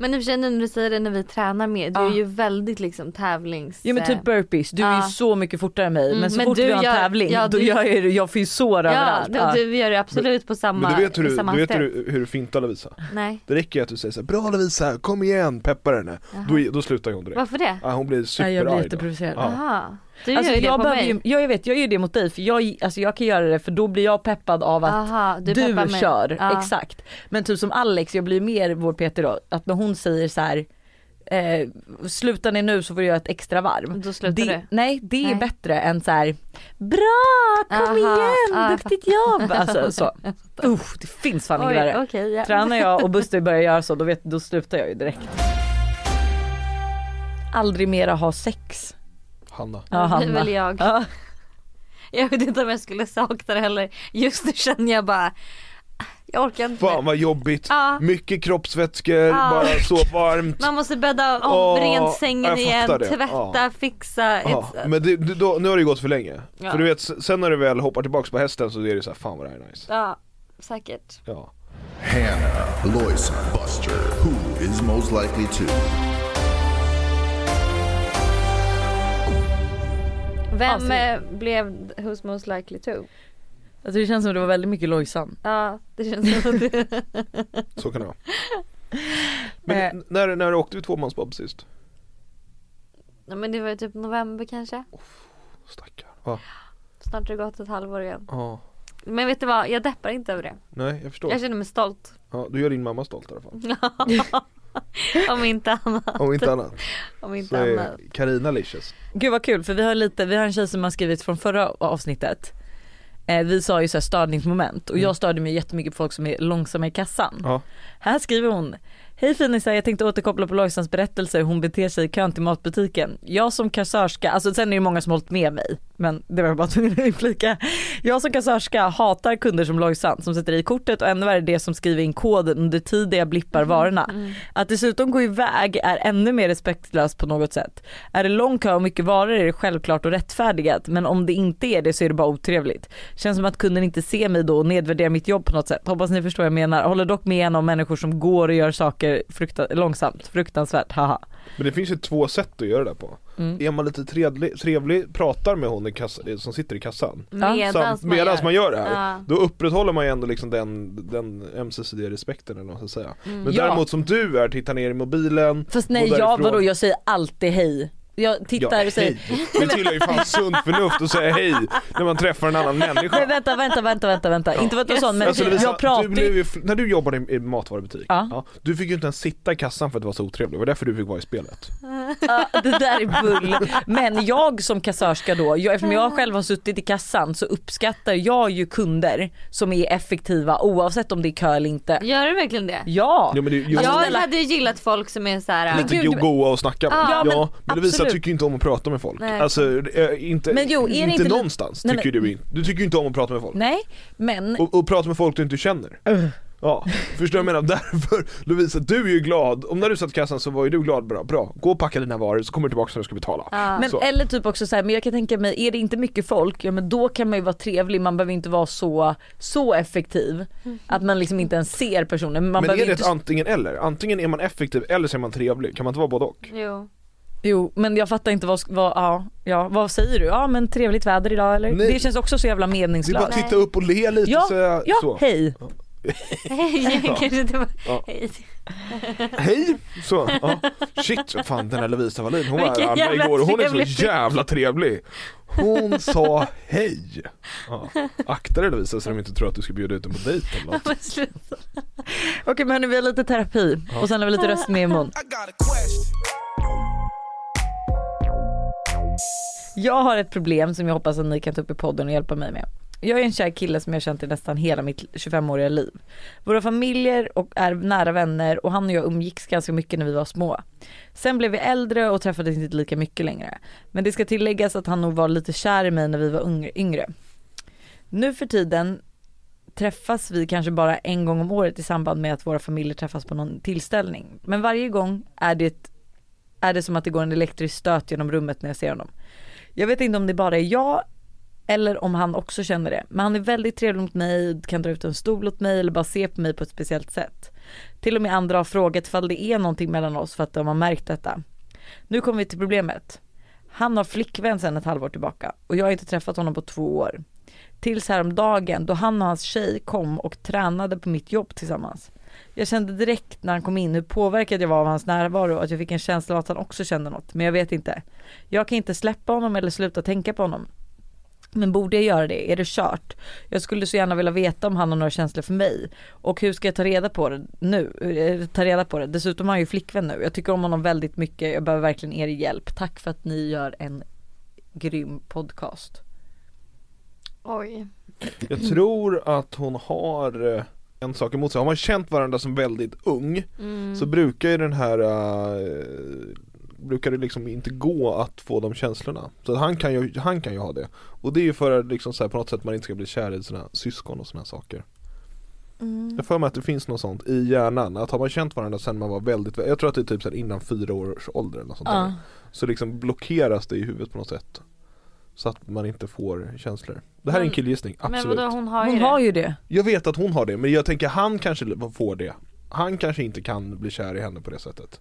Men i och för sig nu när du säger det när vi tränar mer, du Ja. är ju väldigt liksom tävlings... eh, Jo men typ burpees, du är Ja. ju så mycket fortare än mig Mm, men så men fort du vi har en gör- tävling ja, då du- gör jag, ju- jag får ju sår Ja, överallt. du, du gör det absolut på samma, Men du vet hur, i samma du, du vet hur hastighet. du hur du fintar Lovisa? Nej. Det räcker ju att du säger så här, bra Lovisa, kom igen, peppa henne. Då, då slutar ju hon direkt. Varför det? Ja, hon blir Nej, superarg jag blir då. jätteprovocerad. Ja. Aha. Du Alltså, gör ju det jag, på behöver mig. ju, jag vet, jag gör ju det mot dig för jag, alltså, jag kan göra det för då blir jag peppad av att Aha, du, peppar mig. kör. Ja. Exakt. Men typ som Alex, jag blir mer vår Peter då, att när hon säger så här eh, slutar ni nu så får du göra ett extra varv. Då slutar det, du. Nej det Nej. är bättre än så här bra kom Aha, Ah. igen ja, jag duktigt jobb. Alltså, så. Usch det finns fan inget Oj, värre. okej. ja. Tränar jag och Buster börjar göra så då, vet, då slutar jag ju direkt. Aldrig mera ha sex. Hanna. Ja, Det är Hanna. väl jag. Ja. Jag vet inte om jag skulle sakna det heller. Just nu känner jag bara, jag orkar inte. Fan vad jobbigt, Ja. mycket kroppsvätskor, Ja. bara så varmt. Man måste bädda om, Åh, rent jag sängen igen, fattar det. tvätta, fixa. Ja, It's- men det, det, då, nu har det gått för länge. Ja. För du vet, s- sen när du väl hoppar tillbaks på hästen så är det så här, fan vad det här är nice. Ja, säkert. Ja. Hannah, Lois, Buster. Who is most likely to? Vem Alltså- eh, blev Who's Most Likely To? Alltså, det känns som det var väldigt mycket Lojsan. Ja, det känns som att det... Så kan det vara. Men Eh. n- när, när åkte vi tvåmansbob sist? Ja, men det var ju typ november kanske. Stackar. Ja, Snart har det gått ett halvår igen. ja. Men vet du vad, jag deppar inte över det. Nej jag förstår. Jag känner mig stolt. Ja, du gör din mamma stolt i alla fall. Om inte annat. Om inte annat Om så inte annat. är Carina Licious. Gud vad kul för vi har lite, vi har en tjej som har skrivit från förra avsnittet. Eh, vi sa ju såhär störningsmoment och jag störde mig jättemycket på folk som är långsamma i kassan. Ja. Här skriver hon Hej finisar, jag tänkte återkoppla på Lojsans berättelse hur hon beter sig i kön till matbutiken. Jag som kassörska, alltså sen är det många som hållit med mig men det var jag bara tvungen att inflika. Jag som kassörska hatar kunder som Lojsan som sätter i kortet och ännu värre det som skriver in koden under tiden jag blippar varorna. Att dessutom gå iväg är ännu mer respektlöst på något sätt. Är det lång kö och mycket varor är det självklart och rättfärdigat men om det inte är det så är det bara otrevligt. Känns som att kunden inte ser mig då och nedvärderar mitt jobb på något sätt. Hoppas ni förstår vad jag menar. Håller dock med en om människor som går och gör saker frukta- långsamt. Fruktansvärt, haha. Mm. Men det finns ju två sätt att göra det på. Är man lite trevlig, trevlig pratar med hon i kassa, som sitter i kassan. Medans Sam- medans man gör det här, Ja. då upprätthåller man ju ändå liksom den, den ömsesidiga respekten eller vad man ska säga. Men Mm. Ja. däremot som du är, tittar ner i mobilen Fast och nej, jag, därifrån- vadå, jag säger alltid hej. Jag Ja, tittar och säger hej. Det tillhör ju fan sunt förnuft att säga hej när man träffar en annan människa. Men vänta, vänta, vänta, vänta, vänta. Inte för att vara sån men Alltså, Lovisa, jag pratar du blev ju, när du jobbade i, i matvarubutik, Ja. du fick ju inte ens sitta i kassan för att du var så otrevlig, det var därför du fick vara i spelet. Ja, det där är bull. Men jag som kassörska då, jag, eftersom jag själv har suttit i kassan så uppskattar jag ju kunder som är effektiva oavsett om det är kö eller inte. Gör du verkligen det? Ja! Ja, men det, jo, Jag snälla. hade ju gillat folk som är så här. lite gud, go- men- goa att snacka med. Ja, Ja, men men, Lovisa absolut. tycker ju inte om att prata med folk. Nej. Alltså, eh, inte, Men jo, är det inte, inte li- någonstans Nej, tycker du inte. Du tycker ju inte om att prata med folk. Nej Äh. men Och, och prata med folk du inte känner. Ja, förstår du vad jag menar? Därför Lovisa, du är ju glad, om när du satt i kassan så var ju du glad, bra, bra. gå och packa dina varor så kommer du tillbaka när du ska betala. men, Så. eller typ också så här, men jag kan tänka mig, är det inte mycket folk, ja men då kan man ju vara trevlig, man behöver inte vara så, så effektiv att man liksom inte ens ser personen. Man Men behöver är det inte... ett antingen eller? Antingen är man effektiv eller så är man trevlig, kan man inte vara både och? Jo. Jo men jag fattar inte vad, vad, ja, ja, vad säger du? Ja men trevligt väder idag eller? Nej. Det känns också så jävla Det är bara meningslöst. att titta upp och le lite Ja, så, jag- ja, så. hej. Hej, kanske det var. Ja. Hej. Hej! Så, ja. Shit, fan den här Lovisa Wallin, hon var Vilken här alla jävla igår och hon är trevlig. så jävla trevlig Hon sa hej! Ja. Akta dig Lovisa så de inte tror att du ska bjuda ut dem på dejt eller något. Men sluta. Okej men hörni, vi har lite terapi och sen har vi lite röstmemon. I got a question. Jag har ett problem som jag hoppas att ni kan ta upp i podden och hjälpa mig med. Jag är en kär kille som jag har känt i nästan hela mitt 25-åriga liv. Våra familjer och är nära vänner och han och jag umgicks ganska mycket när vi var små. Sen blev vi äldre och träffades inte lika mycket längre. Men det ska tilläggas att han nog var lite kär i mig när vi var ung- yngre. Nu för tiden träffas vi kanske bara en gång om året i samband med att våra familjer träffas på någon tillställning. Men varje gång är det, är det som att det går en elektrisk stöt genom rummet när jag ser honom. Jag vet inte om det bara är jag eller om han också känner det. Men han är väldigt trevlig mot mig, kan dra ut en stol åt mig eller bara se på mig på ett speciellt sätt. Till och med andra har frågat ifall det är någonting mellan oss för att de har märkt detta. Nu kommer vi till problemet. Han har flickvän sedan ett halvår tillbaka och jag har inte träffat honom på två år. Tills häromdagen då han och hans tjej kom och tränade på mitt jobb tillsammans. Jag kände direkt när han kom in hur påverkad jag var av hans närvaro att jag fick en känsla av att han också kände något men jag vet inte. Jag kan inte släppa honom eller sluta tänka på honom. Men borde jag göra det? Är det kört? Jag skulle så gärna vilja veta om han har några känslor för mig. Och hur ska jag ta reda på det nu? Eh, Ta reda på det. Dessutom har han ju flickvän nu. Jag tycker om honom väldigt mycket. Jag behöver verkligen er hjälp. Tack för att ni gör en grym podcast. Oj. Jag tror att hon har eh, en sak emot sig, har man känt varandra som väldigt ung Mm. så brukar ju den här eh, Brukar det liksom inte gå att få de känslorna. Så att han kan ju, han kan ju ha det. Och det är ju för att liksom så här, på något sätt man inte ska bli kär i sina syskon och sådana saker. Jag får mig att det finns något sånt i hjärnan, att har man känt varandra sedan man var väldigt, jag tror att det är typ så här innan fyra års ålder eller något sånt där. Ja. Så liksom blockeras det i huvudet på något sätt. Så att man inte får känslor. Det här är en Men- killgissning, absolut. Men vadå hon har ju Hon det. har ju det. Jag vet att hon har det, men jag tänker han kanske får det Han kanske inte kan bli kär i henne på det sättet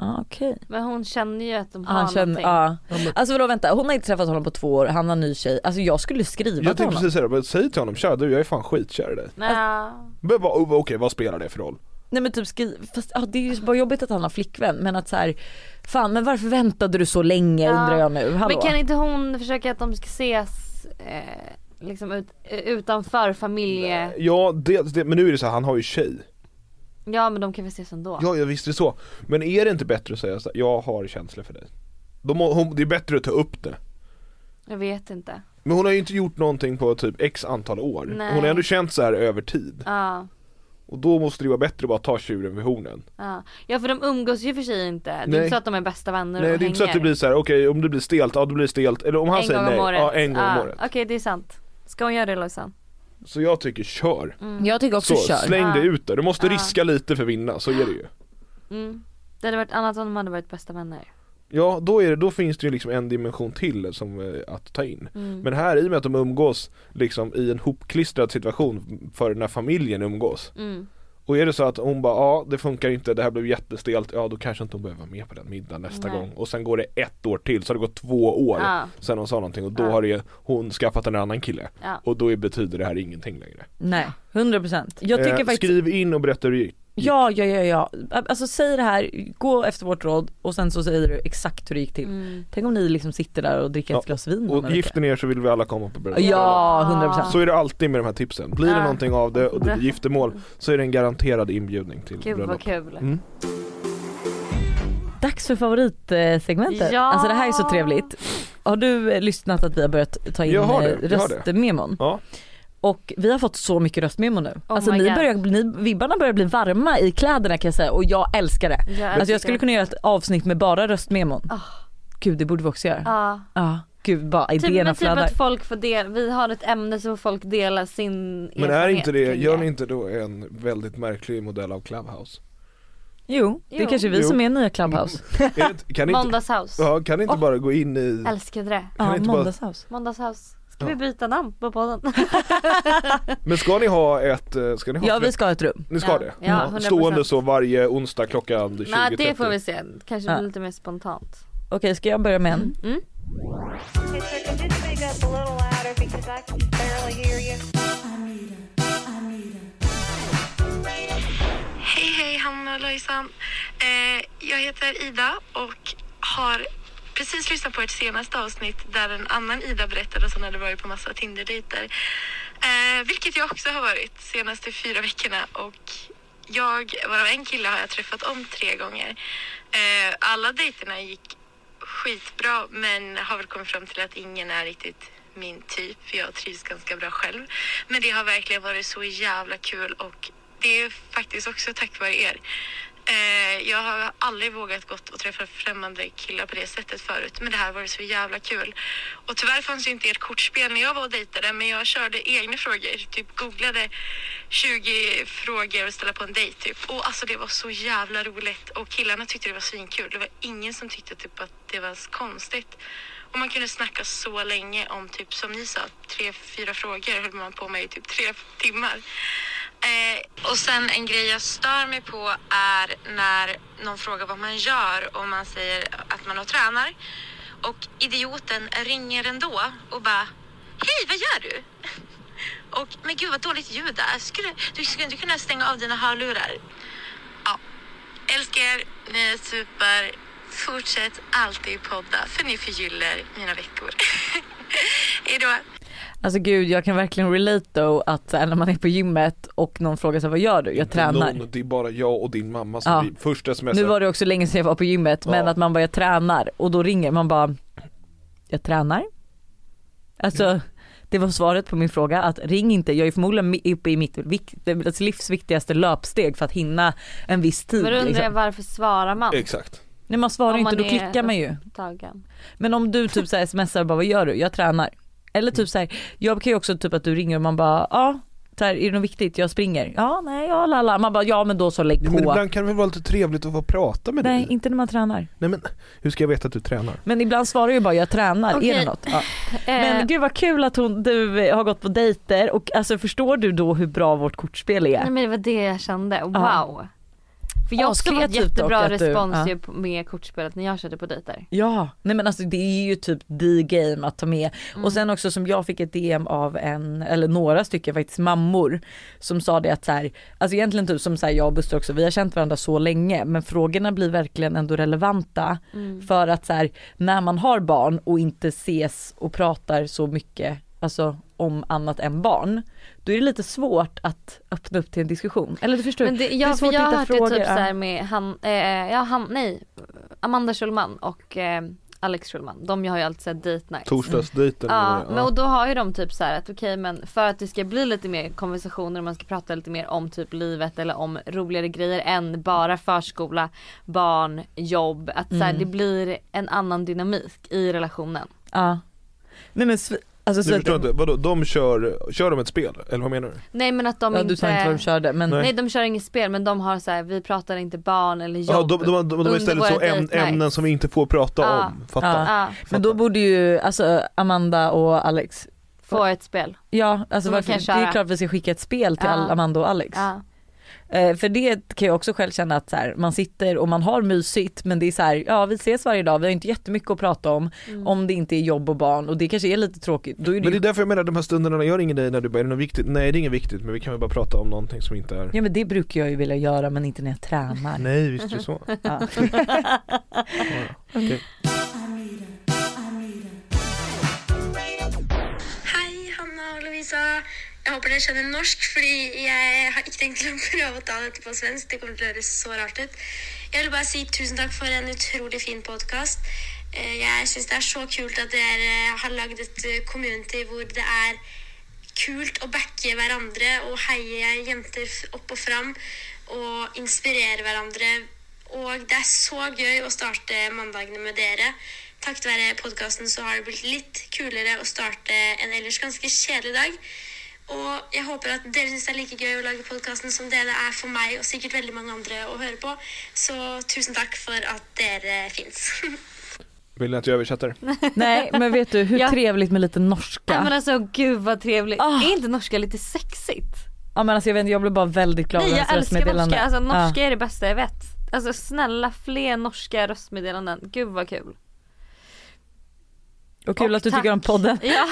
Ah, okej. Men hon känner ju att de har Han känner, någonting. ja. Alltså vadå vänta, hon har inte träffat honom på två år, han har en ny tjej. Alltså jag skulle Jag skriva till tänkte honom. precis säga det, men säg till honom tja du jag är fan skitkär i dig Alltså, Nja. Men vad- okej vad spelar det för roll? Nej men typ skriv, fast ja, det är ju bara jobbigt att han har flickvän men att så här, fan men varför väntade du så länge Ja. undrar jag nu, hallå? Men kan inte hon försöka att de ska ses eh, liksom ut, utanför familje... Ja, det, det, men nu är det så här, han har ju tjej Ja men de kan väl ses ändå. Ja, ja visst det är så Men är det inte bättre att säga så här, jag har känslor för dig De, må- hon, Det är bättre att ta upp det Jag vet inte. Men hon har ju inte gjort någonting på typ x antal år Nej. Hon har ändå känt så här över tid Ja. Och då måste det vara bättre att bara ta tjuren vid hornen Ja. ja för de umgås ju för sig inte. Det är Nej. inte så att de är bästa vänner Nej och det är inte så att det hänger. blir så här: okej om det blir stelt, ja då blir det stelt. Eller om han en säger gång nej, om året. ja en gång om Ja, året. Okej det är sant. Ska hon göra det Lojsan? Så jag tycker kör. Mm. Jag tycker också Så, kör. släng det Ja. ut där. Du måste Ja. riska lite för att vinna, så är det ju. Mm. Det hade varit annat om de hade varit bästa vänner. Ja då, är det, då finns det ju liksom en dimension till som eh, att ta in. Men här i och med att de umgås liksom i en hopklistrad situation för när familjen umgås. Mm. Och är det så att hon bara, ja det funkar inte, det här blev jättestelt, ja då kanske inte hon behöver vara med på den middagen nästa Nej. gång. Och sen går det ett år till, så har det gått två år Ja. sen hon sa någonting och då Ja. har det, hon skaffat en annan kille. Ja. Och då är- betyder det här ingenting längre. Nej, 100 procent. Jag tycker eh, faktiskt, Skriv in och berätta hur det gick. ja ja ja ja. Alltså säg det här, gå efter vårt råd och sen så säger du exakt hur det gick Mm. till. Mm. Tänk om ni liksom sitter där och dricker Ja, ett glas vin om en Och gift vecka. ni er så vill vi alla komma på bröllop. Ah. Ja, 100 procent. Så är det alltid med de här tipsen. Blir det Ja. någonting av det och det blir giftermål så är det en garanterad inbjudning till Gud bröllop. vad kul. Mm. Dags för favoritsegmentet. Ja. Alltså det här är så trevligt. Har du eh, lyssnat att vi har börjat ta in Jag har det, eh, jag har det. röstmemon? Ja. Och vi har fått så mycket röstmemo nu. Oh alltså my ni God. börjar, bli- ni, vibbarna börjar bli varma i kläderna kan jag säga och jag älskar det. Jag alltså älskar jag skulle det. kunna göra ett avsnitt med bara röstmemon. Ah. Gud det borde vi också göra. Ja. Ja. gud bara Ah. Typ, idéerna men typ flödar. att folk får del, vi har ett ämne så får folk dela sin Men är erfarenhet inte det, kring gör ni inte då en väldigt märklig modell av Clubhouse? Jo, det är Jo. kanske är vi Jo. som är nya Clubhouse. Är det, inte- kan ni inte, Måndagshouse. ja, kan ni inte bara gå in i, Älskade det. kan ni Ja, inte bara, Ah, måndagshouse. Måndagshouse. Ska Ja. vi byta namn på podden? men ska ni ha ett, eh, ska ni ha Ja ett- vi ska ha ett rum. Ni ska Ja. det? Ja, 100%. Stående så varje onsdag klockan 20.30? Nej det får vi se. Kanske Ja. blir lite mer spontant. Okej ska jag börja med en? Okay, sir, can you speak up a little louder because I can barely hear you? Hej, hej Hanna och Lojsan. Eh, jag heter Ida och har precis lyssnat på ert senaste avsnitt där en annan Ida berättade att hon hade varit på massa Tinder-dejter. Eh, vilket jag också har varit de senaste fyra veckorna och jag, varav en kille har jag träffat om tre gånger. Eh, alla dejterna gick skitbra men har väl kommit fram till att ingen är riktigt min typ. för Jag trivs ganska bra själv. Men det har verkligen varit så jävla kul och det är faktiskt också tack vare er. Eh, jag har aldrig vågat gått och träffa främmande killar på det sättet förut men det här var så jävla kul. Och tyvärr fanns ju inte ert kortspel när jag var och dejtade men jag körde egna frågor. Typ googlade 20 frågor att ställa på en dejt typ. Och alltså det var så jävla roligt och killarna tyckte det var svinkul. Det var ingen som tyckte typ att det var så konstigt. Och man kunde snacka så länge om typ som ni sa, tre, fyra frågor höll man på med i typ tre timmar. Eh, och sen en grej jag stör mig på är när någon frågar vad man gör och man säger att man tränar. Och idioten ringer ändå och bara Hej, vad gör du? Och men gud vad dåligt ljud det är. Skulle, du skulle inte kunna stänga av dina hörlurar. Ja, älskar er. Ni är super. Fortsätt alltid podda för ni förgyller mina veckor. Hejdå. Alltså gud jag kan verkligen relate då att så här, när man är på gymmet och någon frågar sig vad gör du? Jag tränar. Någon, det är bara jag och din mamma som Ja. blir först sms Nu var det också länge sedan jag var på gymmet men Ja. att man bara jag tränar och då ringer man bara jag tränar. Alltså det var svaret på min fråga att ring inte, jag är förmodligen mi- uppe i mitt vik- alltså, livsviktigaste löpsteg för att hinna en viss tid. Men då undrar jag liksom. varför svarar man? Exakt. Nej man svarar Om ju inte, man då är klickar man ju. upptagen. Men om du typ så här smsar och bara vad gör du? Jag tränar. Eller typ så här, jag kan ju också typ att du ringer och man bara ja, så här, är det något viktigt? Jag springer. Ja, nej, ja, lala. Man bara ja men då så lägg Ja, men på. ibland kan det väl vara lite trevligt att få prata med Nej Mm. dig? inte när man tränar. Nej men hur ska jag veta att du tränar? Men ibland svarar jag bara jag tränar, Okej. är det något? Ja. Eh, Men gud vad kul att hon, du eh, har gått på dejter och alltså förstår du då hur bra vårt kortspel Nej är? men det var det jag kände, wow. Ja. För jag har också fått Askreativt dock jättebra att du- respons ja. ju på- med kortspelet när jag körde på dejter. Ja, nej men alltså det är ju typ the game att ta med. Och sen också som jag fick ett DM av en, eller några stycken faktiskt mammor som sa det att så här, alltså egentligen typ som så här jag och Buster också, vi har känt varandra så länge men frågorna blir verkligen ändå relevanta för att så här när man har barn och inte ses och pratar så mycket, alltså om annat än barn, då är det lite svårt att öppna upp till en diskussion. Eller du förstår, Men det, ja, är för svårt jag att har hitta hört det frågor. typ ja. såhär med han, eh, ja han, nej, Amanda Schulman och eh, Alex Schulman. De har ju alltid såhär date nights. Torsdagsdejten Ja, men och då har ju de typ så här att okej men för att det ska bli lite mer konversationer och man ska prata lite mer om typ livet eller om roligare grejer än bara förskola, barn, jobb. Att så här, Mm. det blir en annan dynamik i relationen. Ja. Nej men svi- alltså Du så att- förstår inte, vadå de kör, kör de ett spel? Eller vad menar du? Nej men att de Ja, inte... du sa inte vad de körde men Nej de kör inget spel men de har så här, vi pratar inte barn eller jobb. Ja, de, de, de, de har under istället så våra äm, date nights. ämnen som vi inte får prata Ja. om, fattar? Ja. Ja, Men då borde ju alltså Amanda och Alex, få ett spel. ja alltså De varför, kan det köra. är klart vi ska skicka ett spel till Ja. all- Amanda och Alex. Ja. Eh, för det kan jag också själv känna att så här, man sitter och man har mysigt men det är så här, ja vi ses varje dag, vi har inte jättemycket att prata om Mm. om det inte är jobb och barn och det kanske är lite tråkigt. Då är det, Men det är ju, därför jag menar de här stunderna när jag ringer dig när du bara, är det något viktigt? Nej det är inget viktigt men vi kan väl bara prata om någonting som inte är Ja men det brukar jag ju vilja göra men inte när jag tränar. Nej visst är det så. Ja. Hej Hanna och Lovisa. Jag hoppas ni känner norsk fordi jeg har ikke tenkt til å prøve å ta dette på svensk. Det kommer til å høres så rart ut. Jeg vil bare si tusen takk for en utrolig fin podkast. Jeg syns det er så kult at dere har lagd et eh, community hvor det er kult å backe hverandre og heie jenter f- opp og fram og inspirere hverandre. Og det er så gøy å starte mandagene med dere. Takket være podkasten så har det blitt litt kulere å starte en ellers ganske kjedelig dag. Og jeg håper at dere syns det er like gøy å lage podkasten som det det er for meg og sikkert veldig mange andre å høre på. Så tusen takk for at dere fins. Vill ni att jag översätter? Nej men vet du hur Ja. trevligt med lite norska. Nej men alltså gud vad trevligt. Ah. Är inte norska lite sexigt? Ja men alltså jag vet inte, jag blev bara väldigt glad Nej över jag hennes älskar röstmeddelande. norska, alltså Ja. norska är det bästa jag vet. Alltså snälla fler norska röstmeddelanden, gud vad kul. Och kul Och att du tack. tycker om podden. Ja,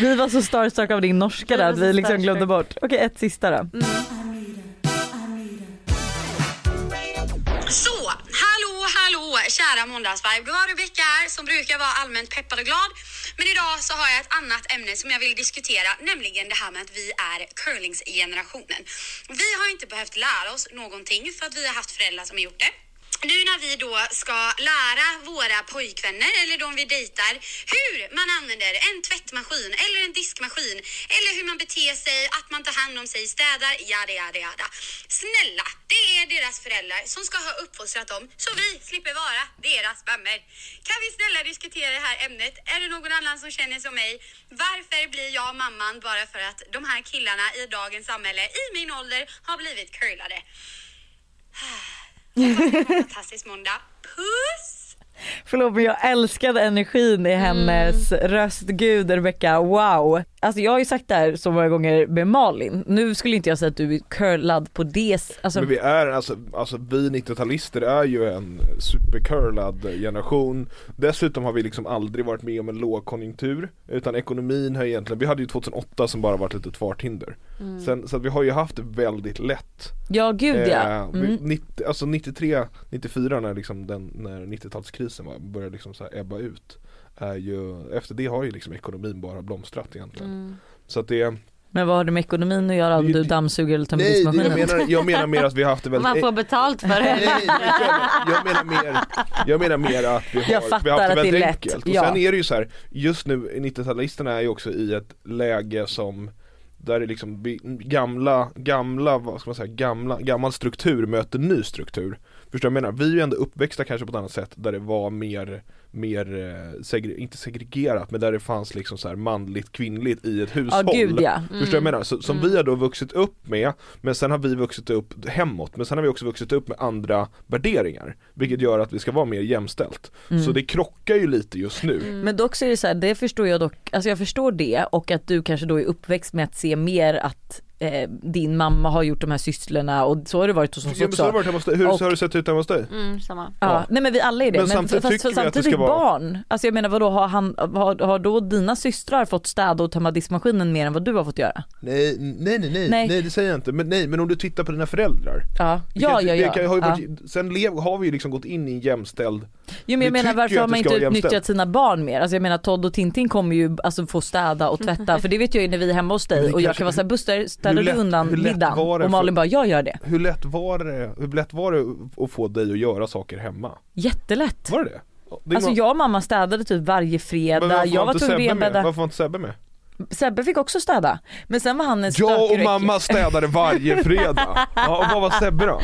Vi var så starstruck av din norska Vi där var att så vi liksom starstruck. Mm. glömde bort. Okej ett sista då. Så, hallå, hallå, kära måndagsvibe. Det var Rebecka här som brukar vara allmänt peppad och glad. Men idag så har jag ett annat ämne som jag vill diskutera, nämligen det här med att vi är curlingsgenerationen. Vi har inte behövt lära oss någonting för att vi har haft föräldrar som har gjort det. Nu när vi då ska lära våra pojkvänner eller de vi dejtar hur man använder en tvättmaskin eller en diskmaskin eller hur man beter sig, att man tar hand om sig, städar, yada yada yada. Snälla, det är deras föräldrar som ska ha uppfostrat dem så vi slipper vara deras vänner. Kan vi snälla diskutera det här ämnet? Är det någon annan som känner som mig? Varför blir jag mamman bara för att de här killarna i dagens samhälle i min ålder har blivit curlade? Fantastisk måndag. Puss! Mm. Förlåt men jag älskade energin i hennes röst. Gud Rebecca, wow. Alltså jag har ju sagt det här så många gånger med Malin, nu skulle inte jag säga att du är curlad på det s- alltså, Men vi är alltså, alltså vi 90-talister är ju en supercurlad generation Dessutom har vi liksom aldrig varit med om en lågkonjunktur Utan ekonomin har egentligen, vi hade ju 2008 som bara var ett litet farthinder Mm. Sen, Så att vi har ju haft det väldigt lätt Ja gud ja. Eh, vi- Mm. 90, Alltså 93, 94 när liksom den, när 90-talskrisen var, började liksom så här ebba ut är ju, Efter det har ju liksom ekonomin bara blomstrat egentligen Mm. Så att det, Men vad har det med ekonomin att göra om Det- du dammsuger eller tar med nej diskmaskinen? jag menar, jag menar mer att vi har haft det väldigt Man får betalt för det. Nej, nej, jag menar mer, jag menar mer att vi har, Jag vi fattar har haft det att det är väldigt lätt, enkelt. Och ja. sen är det ju så här, just nu 90-talisterna är ju också i ett läge som där det liksom bi- gamla, gamla, vad ska man säga, gamla, gammal struktur möter ny struktur. Förstår du vad jag menar? Vi är ju ändå uppväxta kanske på ett annat sätt där det var mer, mer, eh, segre, inte segregerat men där det fanns liksom så här manligt kvinnligt i ett Ja hushåll. gud ja. Mm. Förstår du vad jag menar? Så, som Mm. vi har då vuxit upp med, men sen har vi vuxit upp hemåt, men sen har vi också vuxit upp med andra värderingar. Vilket gör att vi ska vara mer jämställt. Mm. Så det krockar ju lite just nu. Men dock så är det så här, det förstår jag dock, alltså jag förstår det och att du kanske då är uppväxt med att se mer att eh, din mamma har gjort de här sysslorna och så har det varit hos oss Ja, men så har det också. varit hemma hos dig. Hur Och- har det sett ut hemma hos dig? Mm, samma. Ja, nej men vi alla är det. Men Men, samtidigt fast, tycker vi att det samtidigt ska vara- barn. Alltså jag menar vadå, har, han, har, har då dina systrar fått städa och tömma diskmaskinen mer än vad du har fått göra? Nej, nej, nej, nej, Nej. nej det säger jag inte. Men nej, men om du tittar på dina föräldrar. Ja, ja, Vilket- ja. ja. vilka har ju ja. varit, Sen lev, har vi ju liksom gått in i en jämställd Jo men Vi jag menar tycker varför ju har att man det inte ska vara utnyttjat jämställt. sina barn mer? Alltså jag menar Todd och Tintin kommer ju alltså, få städa och tvätta för det vet jag ju när vi är hemma hos Men dig det och jag kanske- kan vara såhär Buster städar hur du lätt- undan hur lätt middagen? var det Och Malin för- bara jag gör det. Hur lätt var det, hur lätt var det att få dig att göra saker hemma? Jättelätt. Var det det? det är Alltså någon- jag och mamma städade typ varje men fredag, varför jag var inte tvungen att Sebbe med? renbädda. Varför var inte Sebbe med? Sebbe fick också städa. Men sen var han en stökig Jag och räck- mamma städade varje fredag. Ja, och vad var Sebbe då?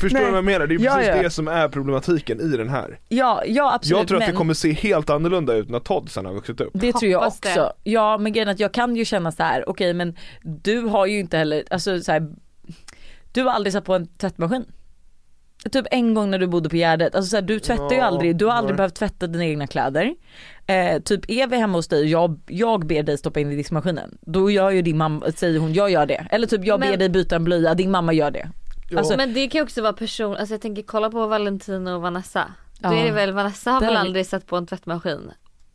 Förstår du Nej. vad jag menar? Det är Ja, precis ja. det som är problematiken i den här. Ja, ja absolut. jag tror att men... det kommer se helt annorlunda ut när Todd sen har vuxit upp. Det tror jag Hoppas det. också. Ja men grejen är att jag kan ju känna så här, okej men du har ju inte heller, alltså så här, du har aldrig satt på en tvättmaskin. Typ en gång när du bodde på Gärdet, alltså så här, du tvättar ju Ja, aldrig, du har aldrig nej. behövt tvätta dina egna kläder. Eh, typ är vi hemma hos dig och jag, jag ber dig stoppa in i diskmaskinen, då gör ju din mamma, säger hon jag gör det. Eller typ jag ber Men- dig byta en blöja, din mamma gör det. Alltså, Men det kan ju också vara person, alltså jag tänker kolla på Valentino och Vanessa. Då Ja. är det väl, Vanessa har Där- väl aldrig satt på en tvättmaskin.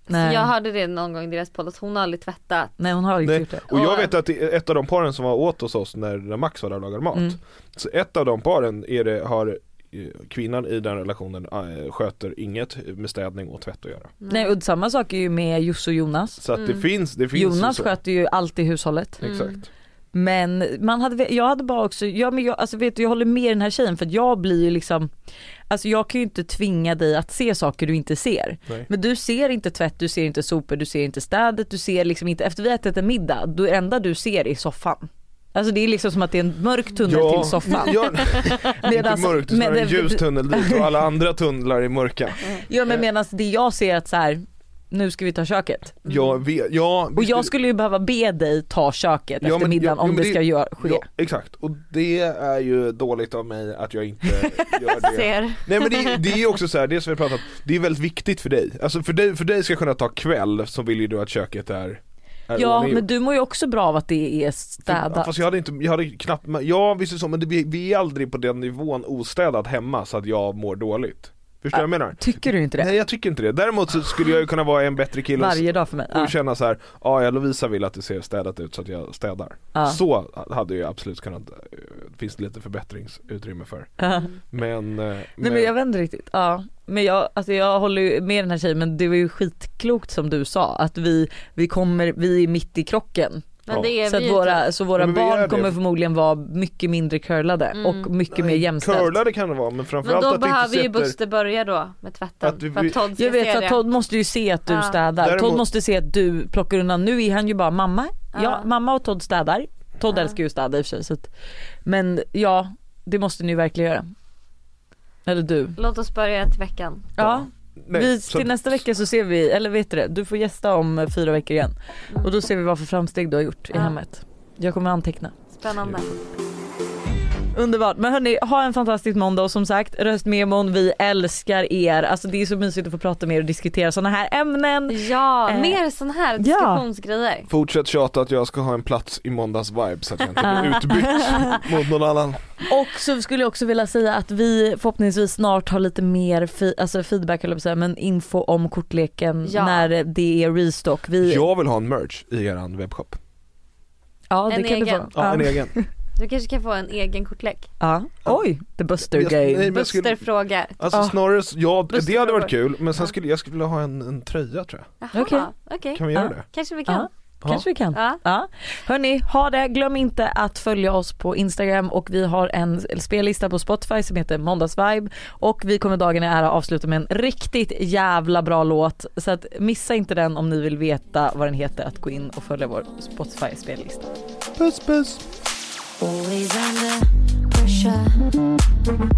Nej. Så jag hörde det någon gång i deras podd att hon har aldrig tvättat. nej hon har aldrig Nej. gjort det. Och jag Och- vet att det är ett av de paren som var åt hos oss när, när Max var där och lagade mat, Mm. så ett av de paren är det, har eh, kvinnan i den relationen eh, sköter inget med städning och tvätt att göra. Nej och samma sak är ju med Josse och Jonas. Så att det finns, det finns Mm. Jonas så. sköter Mm. ju allt i hushållet. Exakt. Men man hade, jag hade bara också, ja, men jag, alltså vet du, jag håller med den här tjejen för att jag blir ju liksom, alltså jag kan ju inte tvinga dig att se saker du inte ser. Nej. Men du ser inte tvätt, du ser inte sopor, du ser inte städet, du ser liksom inte, efter vi har ätit en middag, det enda du ser är soffan. Alltså det är liksom som att det är en mörk tunnel till soffan. Ja, inte Medans- mörkt, det är snarare men en det- Mm. ljus tunnel dit och alla andra tunnlar är mörka. Ja men medan det jag ser att så här, nu ska vi ta köket. Jag vet, ja, Och visst, jag skulle ju behöva be dig ta köket Ja, efter men- middagen ja, om jo, men det ska gör, ske. Ja, exakt, och det är ju dåligt av mig att jag inte gör det. Ser. Nej men det, det är ju också så här, det som vi pratat om, det är väldigt viktigt för dig. Alltså för dig, för dig ska kunna ta kväll så vill ju du att köket är, är Ja ordninggjort. men du mår ju också bra av att det är städat. Fast jag hade inte, jag hade knappt, men- ja visst är det så men det, vi, vi är aldrig på den nivån ostädat hemma så att jag mår dåligt. Förstår du vad jag menar? Tycker du inte det? Nej jag tycker inte det, däremot så skulle jag ju kunna vara en bättre kille och- Varje dag för mig. och Ja. känna så här, ja ja, Lovisa vill att det ser städat ut så att jag städar. Ja. Så hade jag absolut kunnat, eh, finns det lite förbättringsutrymme för. Ja. Men, eh, Nej men jag vet inte riktigt. Ja. Men jag, alltså jag håller ju med den här tjejen men det var ju skitklokt som du sa att vi, vi, kommer, vi är mitt i krocken. Ja. Men det är Så, vi att ju typ. inte. våra, så våra Ja, men vi är barn det. kommer förmodligen vara mycket mindre curlade Mm. och mycket mer jämställt. curlade kan det vara men Men framförallt då att det behöver inte ju sitter Buster börja då med tvätten. Att vi- för att Todd ska Jag vet se för att det. Todd måste ju se att du Ja. städar. Däremot- Todd måste se att du plockar undan. Nu är han ju bara mamma. Ja, Ja. mamma och Todd städar. Todd älskar ju att städa i och för sig. Så att, men ja, det måste ni ju verkligen göra. Eller du. Låt oss börja till veckan. ja. Nej, vi, så- till nästa vecka så ser vi, eller vet du det, du får gästa om eh, fyra veckor igen. Mm. Och då ser vi vad för framsteg du har gjort i Ja. hemmet. Jag kommer anteckna. Spännande. Underbart. Men hörni, ha en fantastisk måndag och som sagt röstmemon, vi älskar er. Alltså det är så mysigt att få prata med er och diskutera sådana här ämnen. Ja, Eh, mer sån här ja. diskussionsgrejer. Fortsätt tjata att jag ska ha en plats i måndags vibe så att jag inte blir utbytt mot någon annan. Och så skulle jag också vilja säga att vi förhoppningsvis snart har lite mer fi- alltså feedback eller säga, men info om kortleken Ja. när det är restock. Vi, Jag vill ha en merch i eran webbshop. ja, det En kan du egen. få. Ja, en ja. egen. Du kanske kan få en egen kortlek. ja. Oj, the buster Jag- game. nej, men jag Buster skulle- frågar. Alltså Ah. snarare, s- ja, Lustig det hade fråga. varit kul men sen skulle jag skulle vilja ha en, en tröja tror jag. Jaha, Okej. okej. Kan vi göra Ah. det? Kanske vi kan. Ja. Kanske vi kan. Ja. Ja. Hörni, ha det. Glöm inte att följa oss på Instagram och vi har en spellista på Spotify som heter Måndagsvibe och vi kommer dagen i ära avsluta med en riktigt jävla bra låt så att missa inte den om ni vill veta vad den heter att gå in och följa vår Spotify spellista. Puss puss! Always under pressure.